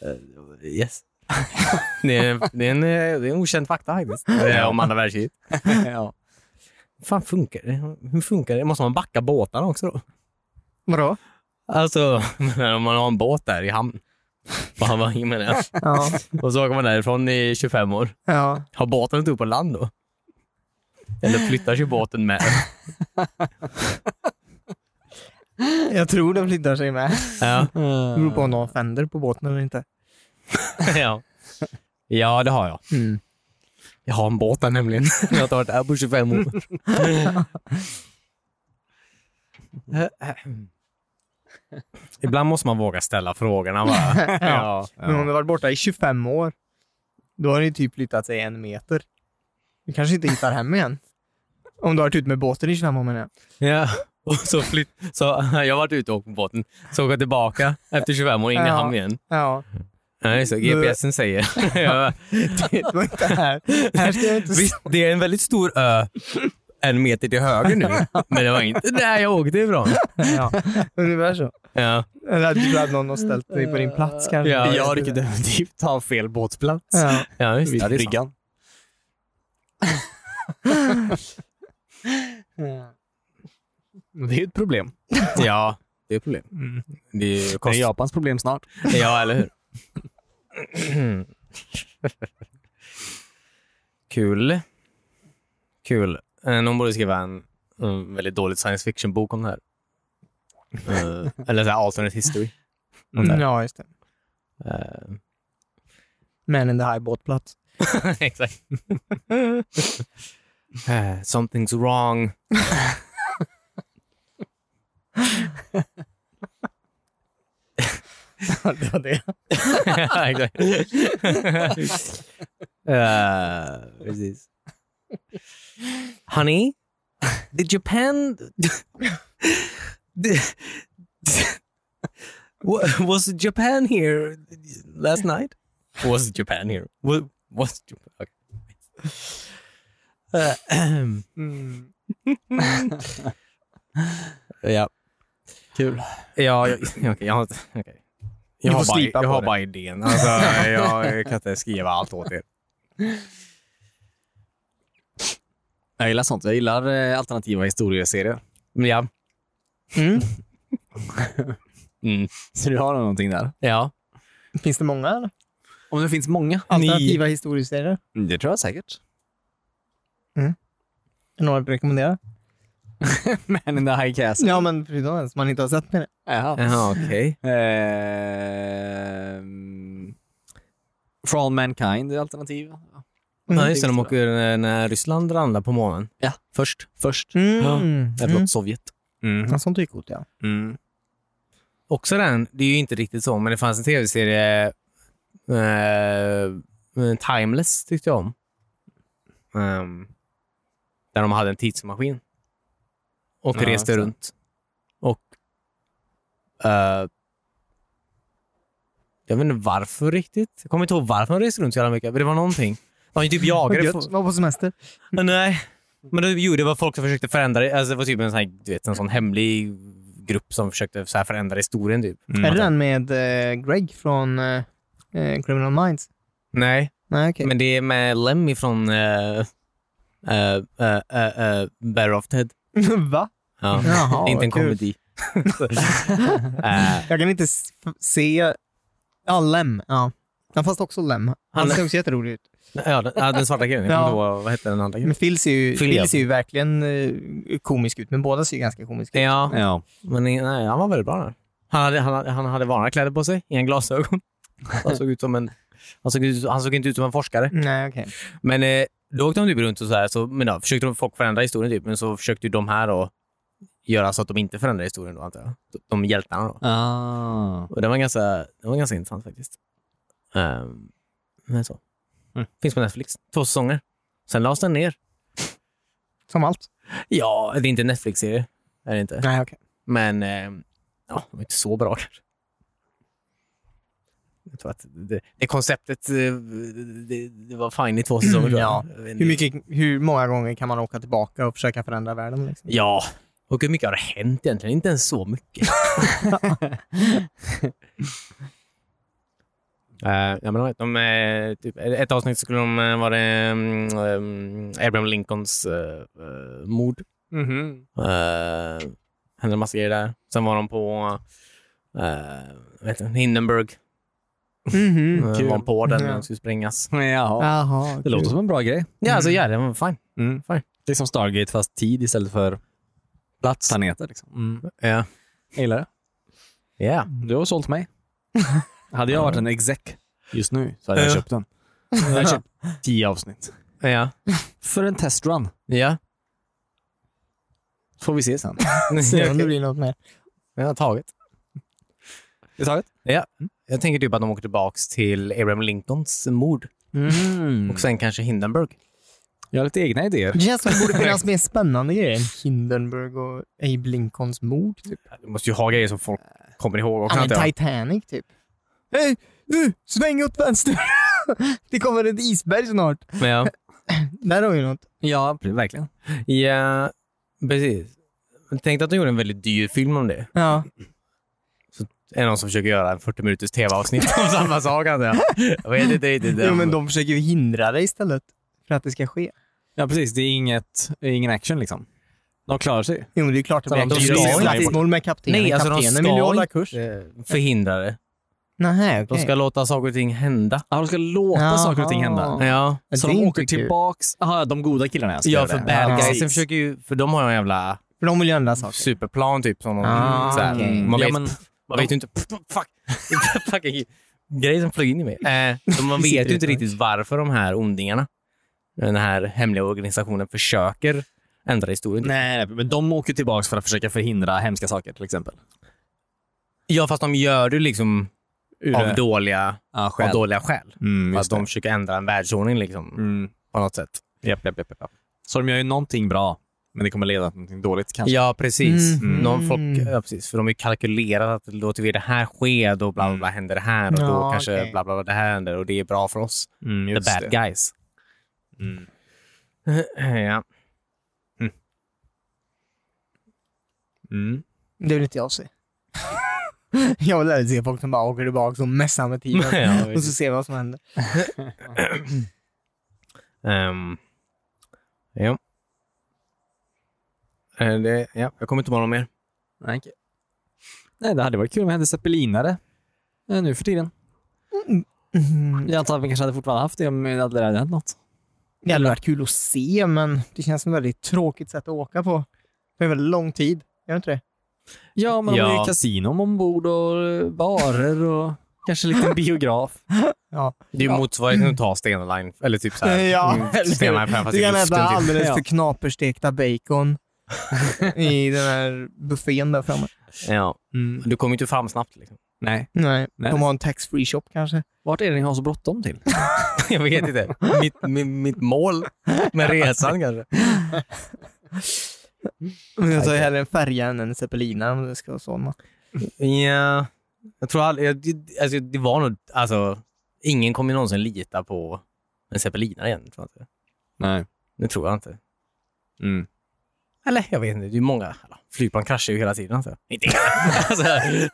Eh, yes. det, är, det, är en, eh, det är en okänd fakta faktiskt. eh, Om andra världskriget.
ja.
fan funkar det? Hur funkar det? Måste man backa båtarna också då?
Vadå?
Alltså, om man har en båt där i hamn. Fan vad jag menar jag.
Ja.
Och så åker man därifrån i 25 år.
ja.
Har båten inte upp på land då? Eller flyttar sig båten med?
Jag tror de flyttar sig med.
Ja.
Det beror på om de har fender på båten eller inte.
ja. ja, det har jag.
Mm.
Jag har en båt där nämligen. Jag har inte varit där på 25 år. Ibland måste man våga ställa frågorna bara.
Ja.
Men om de har varit borta i 25 år, då har det ju typ flyttat sig en meter. Du kanske inte hittar hem igen. Om du har varit ute med båten i 25 år menar jag.
ja. Och så flytt, så jag har varit ute och åkt på båten, så åker jag tillbaka efter 25 år in i
Ja.
hamn igen.
Ja,
Nej, så GPSen säger. Ja.
det var inte här. Här ska jag inte
Visst, det är en väldigt stor ö en meter till höger nu, men det var inte där jag åkte ifrån.
Ja, ungefär så.
Ja.
Eller att du att någon har ställt dig på din plats kanske.
Ja,
Jag rycker definitivt ta fel båtplats.
Ja.
Ja, just det.
Vid
Ja, det är sant.
bryggan.
Mm.
Det är ju ett problem.
Ja, det är ett problem. Mm. Det är ju
Det är
kost...
Japans problem snart.
Ja, eller hur? Kul. Kul. Eh, Någon borde skriva en mm, väldigt dålig science fiction-bok om det här. Eh, eller så här alternate history. Om det här.
Mm, ja, just det.
Eh,
Man in the high båtplats.
Exakt. Eh, Something's wrong.
det var det.
Exakt. Eh, precis. Honey, did Japan... Did- Wa- was Japan here last night? Was Japan here? Was, was Japan... Okay. Eh, ahem.
Mm.
Uh, ja.
Kul.
Ja, jag, okej, jag har inte... okej. Jag
får
har, bara,
slipa
jag
på
har
det.
bara idén. Alltså, jag, jag kan inte skriva allt åt er.
Jag gillar sånt. Jag gillar eh, alternativa historieserier.
Men Ja.
Mm.
Mm.
Så du har nog någonting där.
Ja.
Finns det många eller?
Om det finns många.
alternativa historieserier?
Det tror jag säkert.
Är det någon att rekommendera?
Man in the high castle.
Ja, men förutom den som man inte har sett med det.
Jaha.
Jaha, okej.
Ehm, For all mankind är alternativ.
Ja, just det. De åker när, när Ryssland ramlar på månen.
Ja.
Först.
Först.
Mm.
Ja.
Mm.
Nej, förlåt, Sovjet.
Ja, sånt är ju coolt, ja.
Mm.
Också den, det är ju inte riktigt så, men det fanns en tv-serie, eh, Timeless tyckte jag om. Ehm, där de hade en tidsmaskin. Och
Ja,
reste
så.
runt. Och... eh, jag vet inte varför riktigt. Jag kommer inte ihåg varför de reste runt så jävla mycket, men det var någonting. De typ jagade...
Gött. Var på semester.
Men nej. Men det, jo, det var folk som försökte förändra det. Alltså, det var typ en sån, här, du vet, en sån hemlig grupp som försökte så här förändra historien. Typ.
Är det den med eh, Greg från eh, eh, Criminal Minds?
Nej,
Nej, okej.
men det är med Lemmy från uh, eh, Bear of Ted.
Va?
Ja.
Jaha,
inte en
vad kul.
komedi. Eh,
Jag kan inte s- f- se... Ja, Lem. Ja. ja, fast också Lem. Han
Han-
ser också jätterolig ut.
ja, den, ja, den svarta killen. Jag
Ja.
kommer inte ihåg Vad hette den andra killen?
Men Phil ser ju,
Phil, ja.
Phil ser ju verkligen eh, komisk ut, men båda ser ju ganska komiska ut.
Ja,
Ja.
men nej, han var väldigt bra där. Han hade, han, hade- han hade vanliga kläder på sig, inga glasögon. Han såg, ut som en, han, såg ut, han såg inte ut som en forskare.
Nej, okej.
Men eh, då åkte de typ runt och så här, så, men då, försökte de folk förändra historien typ, men så försökte ju de här då göra så att de inte förändrar historien då, antar jag. De hjältarna då.
Ah.
Och det var ganska, det var ganska intressant faktiskt. Ehm, men så.
Mm.
Finns på Netflix. Två säsonger. Sen lades den ner.
Som allt.
Ja, det är inte en Netflix-serie. Är det inte.
Nej, okej.
Men ehm, ja, de är inte så bra kanske. Jag tror att det, det konceptet eh, det, det var fine i två säsonger. tror jag.
Ja.
Jag vet inte.
Hur, mycket, hur många gånger kan man åka tillbaka och försöka förändra världen? Liksom?
Ja, och hur mycket har det hänt egentligen? Inte ens så mycket. Eh, ja, men de, de, eh, typ, ett avsnitt skulle de eh, vara um, Abraham Lincolns eh, eh, mord.
Mhm.
Uh, hände en massa grejer där. Sen var de på eh, vad heter det? Hindenburg.
Mhm.
Eh,
kul.
var de på den när
Ja.
den skulle sprängas.
Jaha.
Jaha.
Det låter som en bra grej.
Ja, alltså, ja, det var fine.
Mm. Det är som Stargate fast tid istället för plats. Planeter liksom.
Ja.
Jag gillar det.
Ja.
Du har sålt mig. Hade jag varit en exec just nu så hade jag
Ja.
köpt den. Jag hade köpt tio avsnitt.
Ja.
För en testrun.
Ja.
Får vi se sen.
Se om det blir något mer.
Jag har tagit.
Det är taget.
Jag tänker typ att de åker tillbaks till Abraham Lincolns mord
Mm.
och sen kanske Hindenburg.
Jag har lite egna idéer.
Det känns som det borde finnas mer spännande grejer än Hindenburg och Abe Lincolns mord. Typ.
Du måste ju ha grejer som folk kommer ihåg också.
Ja, men
antar jag.
Titanic, typ. Hej, du! Sväng åt vänster! det kommer ett isberg snart.
Men ja.
Där har vi något.
Ja, verkligen.
ja, precis. Men Tänk att de gjorde en väldigt dyr film om det.
Ja.
Är det någon som försöker göra en 40 minuters tv-avsnitt om samma sak? antar jag? Jag vet inte riktigt.
Jo, men de försöker ju hindra det istället för att det ska ske.
Ja, precis. Det är inget, det är ingen action liksom. De klarar sig.
Jo, men det är ju klart att
Så
det
de
blir
ska
ett
inte-
slagsmål med kaptenen.
Nej, alltså de
kaptenen
ska
vill ju hålla
inte-
kurs.
Förhindra det.
Nej,
De
okej.
ska låta saker och ting hända.
Ja, de ska låta
Jaha.
saker och ting hända.
Ja.
Men
Så
det är
de
inte
åker
kul.
tillbaks. Jaha, de goda killarna jag ska
Ja,
göra
för
det.
bad
Ja,
guysen
precis.
försöker ju... För de har ju en jävla
För de vill ju ändra saker.
superplan typ som de...
Ah,
så här,
okej.
Man
Ja,
vet
men-
Man vet ju inte... Fuck! Fucking grej som flög in i mig. Eh, så man vet ju inte riktigt varför de här ondingarna, den här hemliga organisationen, försöker ändra historien.
Nej, men de åker tillbaks för att försöka förhindra hemska saker till exempel.
Ja, fast de gör det liksom
Ur
av dåliga,
ja,
av
skäl.
dåliga skäl.
Mm,
Att
just
de
det.
försöker ändra en världsordning liksom,
Mm.
på något sätt.
Japp, japp, japp, japp. Så de gör ju någonting bra, men det kommer leda till någonting dåligt kanske. Mm.
Ja, precis.
Mhm.
Någon folk, ja, precis. För de har ju kalkylerat att låter vi det här ske, då bla bla
Mm.
bla händer det här och då
Ja,
kanske
okej.
bla bla bla det här händer och det är bra för oss.
Mm,
The bad guys.
Mm.
ja.
Mm.
Det vill inte jag se. jag vill aldrig se folk som bara åker tillbaka och messar med tiden.
Ja,
och så ser vi vad som händer.
Ehm, ja. Eh, Det, ja. Jag kommer inte ihåg något mer.
Nej, okej. Nej, det hade varit kul om jag hade zeppelinare eh, nu för tiden.
Mm. Mhm.
Jag antar att vi kanske hade fortfarande haft det om det hade hänt något.
Det hade varit kul att se, men det känns som ett väldigt tråkigt sätt att åka på. Det är väldigt lång tid, gör det inte det?
Ja, men de har
Ja.
ju kasinon ombord och eh, barer och kanske en liten biograf.
Ja.
Det är ju motsvarigheten att ta Stena Line, eller typ såhär,
Ja, eller
Stena
hur?
Line framför
Du kan äta
luften. Typ.
alldeles
Ja.
för knaperstekta bacon i den här buffén där framme.
Ja.
Mm.
Du kommer ju inte fram snabbt. Liksom.
Nej.
Nej,
Nej.
de har en tax-free shop kanske.
Vart är det ni har så bråttom till?
Jag vet inte. Mitt, mitt, mitt mål med resan kanske.
Men jag tar ju hellre en färja än en zeppelina om det ska vara sådana.
Ja, jag tror aldrig... jag- det- Alltså, det var nog... Alltså, ingen kommer ju någonsin lita på en zeppelinare igen. Tror jag inte.
Nej.
Det tror jag inte.
Mm.
Eller jag vet inte, det är ju många... alla, Flygplan kraschar ju hela tiden. Alltså. Inte alltså, nej,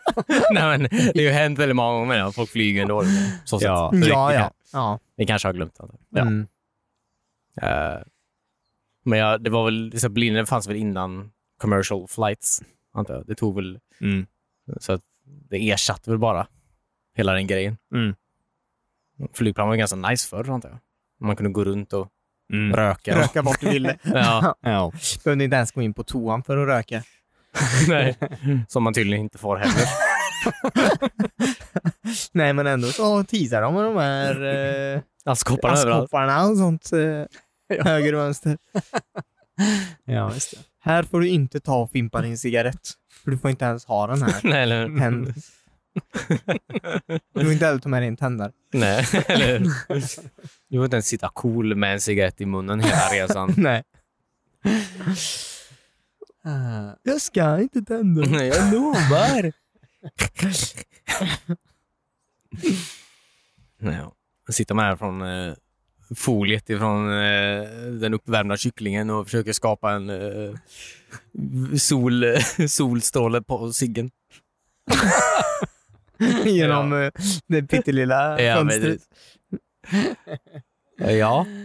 men Det har ju hänt väldigt många gånger att folk flyger ändå. liksom. Så sätt.
Ja.
Så det-
Ja,
det,
ja. ja.
Vi kanske har glömt. Alltså.
Ja.
Mm.
Eh, men ja, det var väl... Zeppeliner fanns väl innan commercial flights, antar jag. Det tog väl...
Mm.
Så att det ersatte väl bara hela den grejen.
Mm.
Flygplan var ju ganska nice förr, antar jag. Man kunde gå runt och
Mm.
röka.
Röka vart du ville.
ja,
Ja.
Behövde inte ens gå in på toan för att röka.
nej. Som man tydligen inte får heller.
Nej, men ändå så teasar de med de här eh,
Askkopparna överallt.
askkopparna och sånt. Eh, Höger och vänster.
ja, visst det.
Här får du inte ta och fimpa din cigarett. För du får inte ens ha den här.
Nej, eller hur?
Tänd. Du får inte heller ta med dig en tändare.
Nej, eller hur? Du får inte ens sitta cool med en cigarett i munnen hela resan.
Nej.
Eh,
Jag ska inte tända.
Nej, jag lovar! Nej, ja. Sitter man här från eh, foliet ifrån eh, den uppvärmda kycklingen och försöker skapa en eh, sol, solstråle på ciggen.
Genom eh, det pyttelilla
Ja, men
fönstret.
det- ja.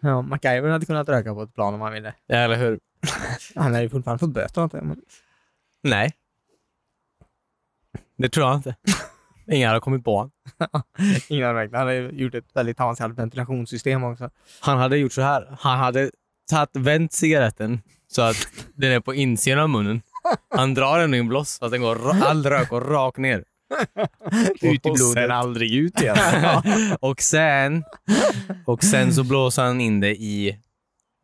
Ja, MacGyver hade kunnat röka på ett plan om han ville.
Ja, eller hur?
Han hade ju fortfarande fått böter. antar jag, men-
Nej. Det tror jag inte. Ingen hade kommit på honom.
Ingen hade räknat. Han hade ju gjort ett väldigt avancerat ventilationssystem också.
Han hade gjort så här. Han hade tagit, vänt cigaretten så att den är på insidan av munnen. Han drar den i en blås så att den går, ra- all rök går rakt ner.
Ut i
Och
blodet.
sen aldrig ut igen.
och, sen, och sen så blåser han in det i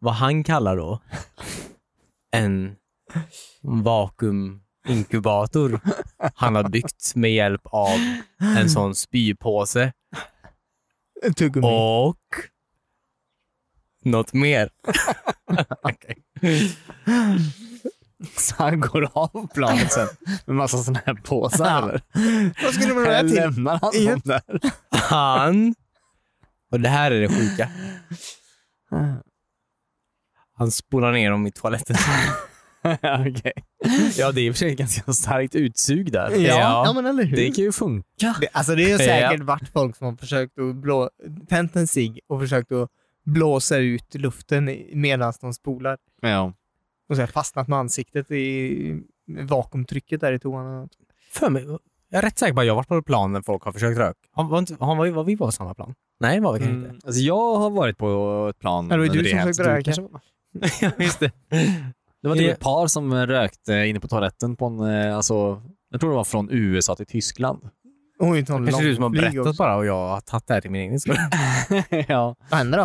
vad han kallar då en vakuuminkubator han har byggt med hjälp av en sån spypåse
Tuggummi.
och något mer.
Så han går av planet sen med massa sådana här påsar eller?
Vad skulle man göra
Eller
till?
lämnar han dem där?
Han... Och det här är det sjuka. Han spolar ner dem i toaletten.
Okej. Ja, det är i och för sig ett ganska starkt utsug där.
Ja, ja. men eller hur?
Det kan ju funka.
Det, alltså det är säkert varit folk som har försökt att blå, tänt en cigg och försökt att blåsa ut luften medan de spolar.
Ja.
Och så har fastnat med ansiktet i vakuumtrycket där i toan. och allt.
För mig, jag är rätt säker på att jag har varit på plan när folk har försökt röka. Han var, inte, han var, var vi på samma plan? Nej, var vi kanske
Mm. Alltså, jag har varit på ett plan.
Ja, det var ju
där
du som försökte
så du
röka.
kanske-
inte. Visst det.
Det var typ
Ja.
ett par som eh, rökte inne på toaletten på en, eh, alltså, jag tror det var från USA till Tyskland.
Oj, inte någon
Kanske du som har
långflyg
berättat
också.
bara och jag har tagit det här till min egen skull.
ja.
Vad hände då?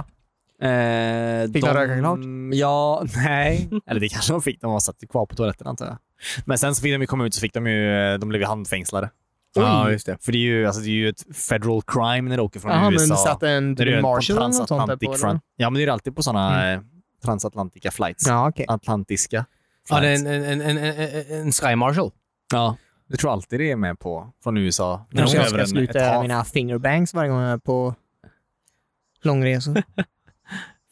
Eh,
Fick de röka klart?
Ja, nej. Eller det kanske de fick. De var satt kvar på toaletten antar jag. Men sen så fick de ju komma ut så fick de ju, eh, de blev ju handfängslade.
Ja, just det.
För det är ju, alltså, det är ju ett federal crime när du åker från
Jaha, men
USA.
satt en
När du är
typ
på
marshal eller något sånt där
transatlantic
på?
fran-
eller? Mm.
Ja, men det är alltid på sådana eh, transatlantika flights.
Ja, okej.
Atlantiska.
Ja, det är
flights.
en, en, en, en, en, en Sky Marshal.
ja, jag tror alltid det är med på från USA. När
Kanske
de
jag
över
ska
en-
sluta
ett
göra
hav.
mina fingerbangs varje gång jag är på långresor.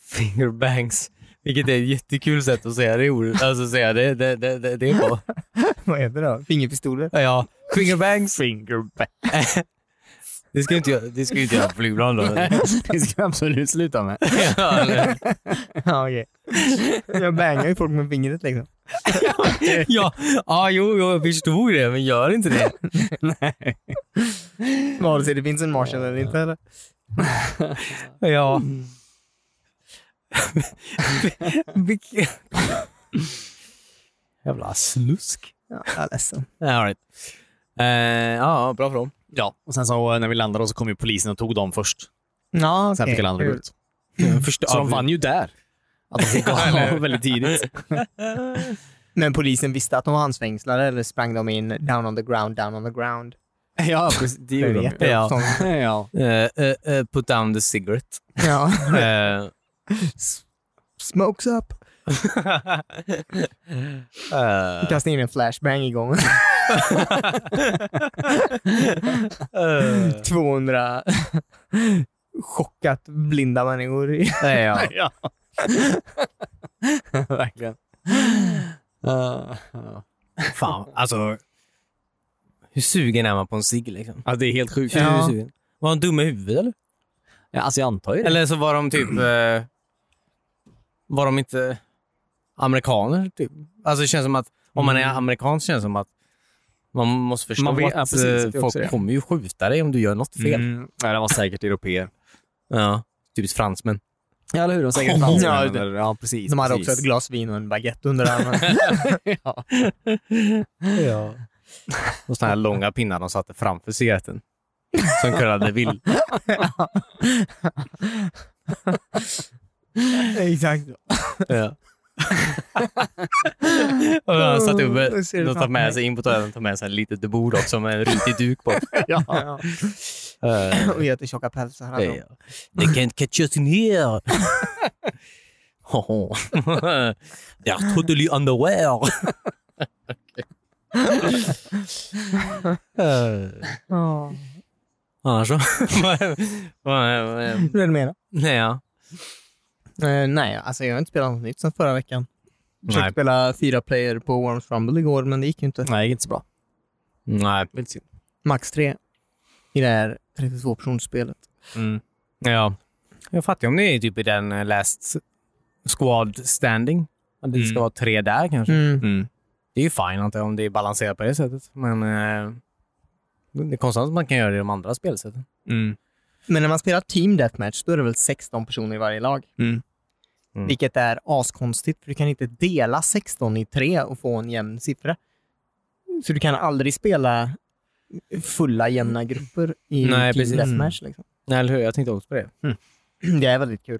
Fingerbangs. Vilket är ett jättekul sätt att säga det ordet. Alltså säga det, det, det, det, det på.
Vad heter det då? Fingerpistoler?
Ja, fingerbangs.
Fingerback.
Det ska ju inte, jag- det ska ju inte jag på flygplan då.
Det ska jag absolut sluta med.
Ja, eller-
ja, okej. Jag bangar ju folk med fingret liksom.
ja, ja, jo, jo, jag förstod det, men gör inte det.
Vare sig det finns en Marshall eller inte. Eller?
Ja. Vilken- Jävla slusk.
Ja, jag är ledsen.
All right. Eh, ja, bra fråga.
Ja, och sen så eh, när vi landade då så kom ju polisen och tog dem först.
Ja,
Sen fick
okej. Mm.
alla andra gå ut.
Förstå-
Så de vann ju där. Att de fick gå av väldigt tidigt.
Men polisen visste att de var handsfängslade eller sprang de in down on the ground, down on the ground?
Ja, precis. Det
Jag
gjorde de
vet det.
Ja.
Som-
ju. Ja.
Eh, eh, eh, put down the cigarette.
ja.
Eh,
Smokes up.
eh,
Kasta in en flashbang i gången.
eh,
200 chockat blinda människor. i-
ja.
ja. Verkligen. Eh, ja.
Fan, alltså. Hur sugen är man på en cigg liksom?
Ja, det är helt sjukt.
Hur
Ja.
sugen? Var de dumma i huvudet eller?
Alltså jag antar ju det.
Eller så var de typ...
Mm.
Eh, var de inte amerikaner? Typ. Alltså det känns som att om man är amerikan så känns det som att man måste förstå
Mm. Man vet-
att
ja, precis, det är
eh,
också
folk
det.
kommer ju skjuta dig om du gör något fel.
Mm. Nej, det var säkert europeer.
Ja, typiskt fransmän.
Ja, eller hur? De var säkert
Ja,
fransmän.
det-
eller- Ja, precis.
De hade
precis.
också ett glas vin och en baguette under armen.
ja.
Ja. Och sådana här långa pinnar de satte framför cigaretten. Som kurrade vill.
Exakt.
Ja. och han satte
Oh,
upp
Jag ser det
de tar
framför mig.
med sig in på toaletten tar med sig ett litet bord också med en rutig duk på. Eh,
Ja. Och jättetjocka pälsar hade de.
They can't catch us in here. Hoho. They are totally underwear. Eh,
Ja.
Annars så... Vad- vad- vad-
Hur är det med er?
Nej, ja.
Eh, nej, alltså jag har inte spelat något nytt sedan förra veckan. Försökte
Nej.
spela fyra player på Worms Rumble igår, men det gick ju inte.
Nej, det gick inte så bra.
Nej.
Max tre i det här 32-personsspelet.
Mm,
Ja. Jag fattar om det är typ i den eh, last squad standing. Att det ska
Mm.
vara tre där kanske.
Mm.
Det är ju fine antar jag, om det är balanserat på det sättet. Men eh, det är konstigt att man kan göra det i de andra spelsätten. Mm.
Men när man spelar Team Deathmatch, då är det väl 16 personer i varje lag.
Mm.
Mm.
Vilket är askonstigt, för du kan inte dela 16 i tre och få en jämn siffra. Så du kan aldrig spela fulla jämna grupper i
Nej,
Team
precis.
Deathmatch. Liksom.
Nej, eller hur? Jag tänkte också på det.
Det är väldigt kul.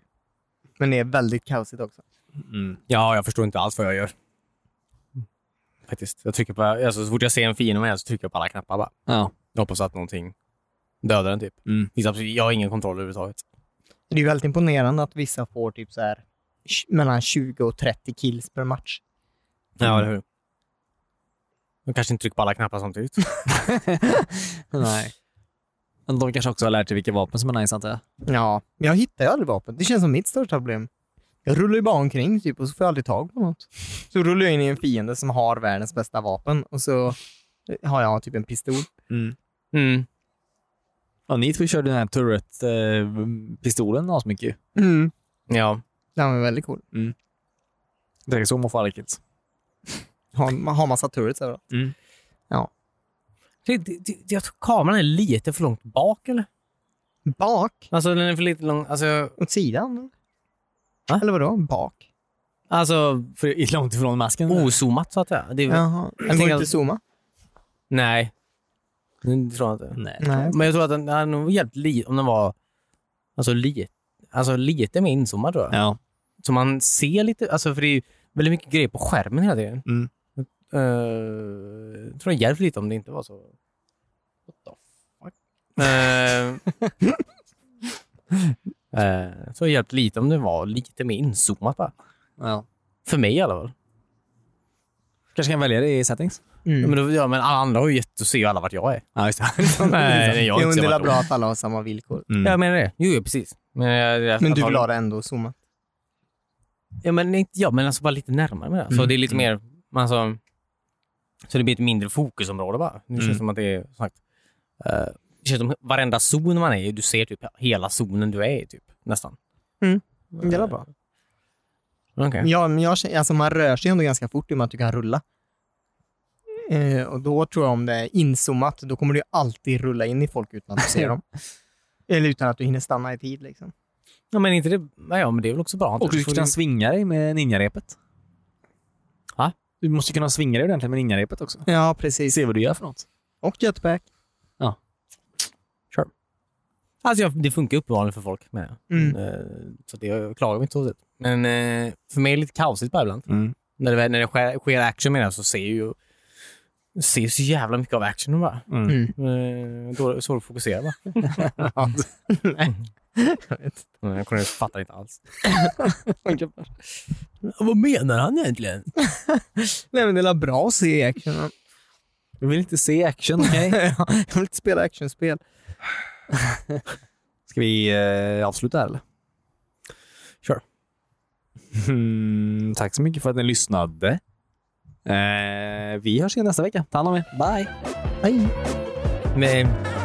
Men det är väldigt kaosigt också.
Ja, jag förstår inte alls vad jag gör. Faktiskt. Jag trycker på, alltså, så fort jag ser en fiende med så trycker jag på alla knappar bara.
Ja.
Jag hoppas att någonting dödar den typ.
Mm.
Visst, absolut, Jag har ingen kontroll överhuvudtaget.
Det är ju väldigt imponerande att vissa får typ så här, tj- mellan 20 och 30 kills per match.
Ja, eller hur? De kanske inte trycker på alla knappar samtidigt.
Nej. Men de kanske också har lärt sig vilka vapen som är nice, antar jag.
Ja, men jag hittar ju aldrig vapen. Det känns som mitt största problem. Jag rullar ju bara omkring typ och så får jag aldrig tag på något. Så rullar jag in i en fiende som har världens bästa vapen och så har jag typ en pistol.
Mm.
Ja, ni två körde den här turret-pistolen asmycket ju.
Mm.
Ja.
Den var väldigt cool.
Det är så man får alla kills.
Har, man har massa turrets överallt.
Det, det, det, jag tror kameran är lite för långt bak, eller?
Bak?
Alltså, den är för lite lång. Alltså,
Åt sidan?
Va?
Eller vadå? Bak?
alltså
För långt ifrån masken.
Mm. ozoomat, så att säga. Det är,
Jaha. Den går
Mm. tänker
inte
att-
att zooma?
Nej. Det tror jag inte.
Nej.
Nej.
Men jag tror att den den hade nog hjälpt lite om den var alltså, lite, alltså, lite mer inzoomad, tror jag.
Ja.
Så man ser lite, alltså, för det är ju väldigt mycket grejer på skärmen hela tiden.
Mm.
Eh, jag tror det hjälper lite om det inte var så. What the fuck? Eh, eh, jag tror det hjälpte lite om det var lite mer inzoomat bara.
ja.
För mig i alla fall.
Kanske kan välja det i settings?
Mm.
Men, då, ja, men alla andra har ju gett att se alla vart jag är.
Ja, just det. Mm.
Nej, nej, jag har
Det är
inte sett
underla
vart de
bra att alla har samma villkor.
Ja, Jag menar det. Jo, jo, precis. Men, jag- jag-
Men
jag
du
tar-
vill ha det ändå zoomat?
Ja, men, inte, ja, men alltså bara lite närmare med det.
Mm.
Så det är lite mer... Alltså, så det blir ett mindre fokusområde bara. Nu
Mm.
känns det som att det är... som Sagt, eh, det känns som varenda zon man är i, du ser typ hela zonen du är i, typ, nästan. Eh,
Det är bra.
Okej.
Mm. Ja, men jag, känner- alltså man rör sig ändå ganska fort i och med att du kan rulla. Eh, och då tror jag om det är inzoomat, då kommer det ju alltid rulla in i folk utan att du ser dem. Eller utan att du hinner stanna i tid. Liksom.
Ja, men inte det. Nej, ja, men det är väl också bra.
Och du
Får
ska kunna svinga dig med ninjarepet.
Va?
Du måste kunna svinga dig ordentligt med ninjarepet också.
Ja, precis.
Se vad du gör för något.
Och jetpack.
Alltså, jag, det funkar uppenbarligen för folk med.
Mm.
Eh, Så det jag klagar mig inte så sett. Men eh, för mig är det lite kaosigt bara ibland.
Mm.
När det, väl- när det sker, sker action med det så ser jag ju ser ju så jävla mycket av actionen bara.
Mm.
Mm.
Eh, Då, så du fokuserar bara.
Jag vet.
Nej, Cornelius fattar inte alls.
inte.
Vad menar han egentligen?
Nej, men det är bra att se action.
Jag vill inte se action, okej?
jag vill inte spela actionspel.
Ska vi eh, avsluta här eller?
Kör.
Mm, tack så mycket för att ni lyssnade. Eh, vi hörs igen nästa vecka. Ta hand om er. Bye!
Nej.
Men,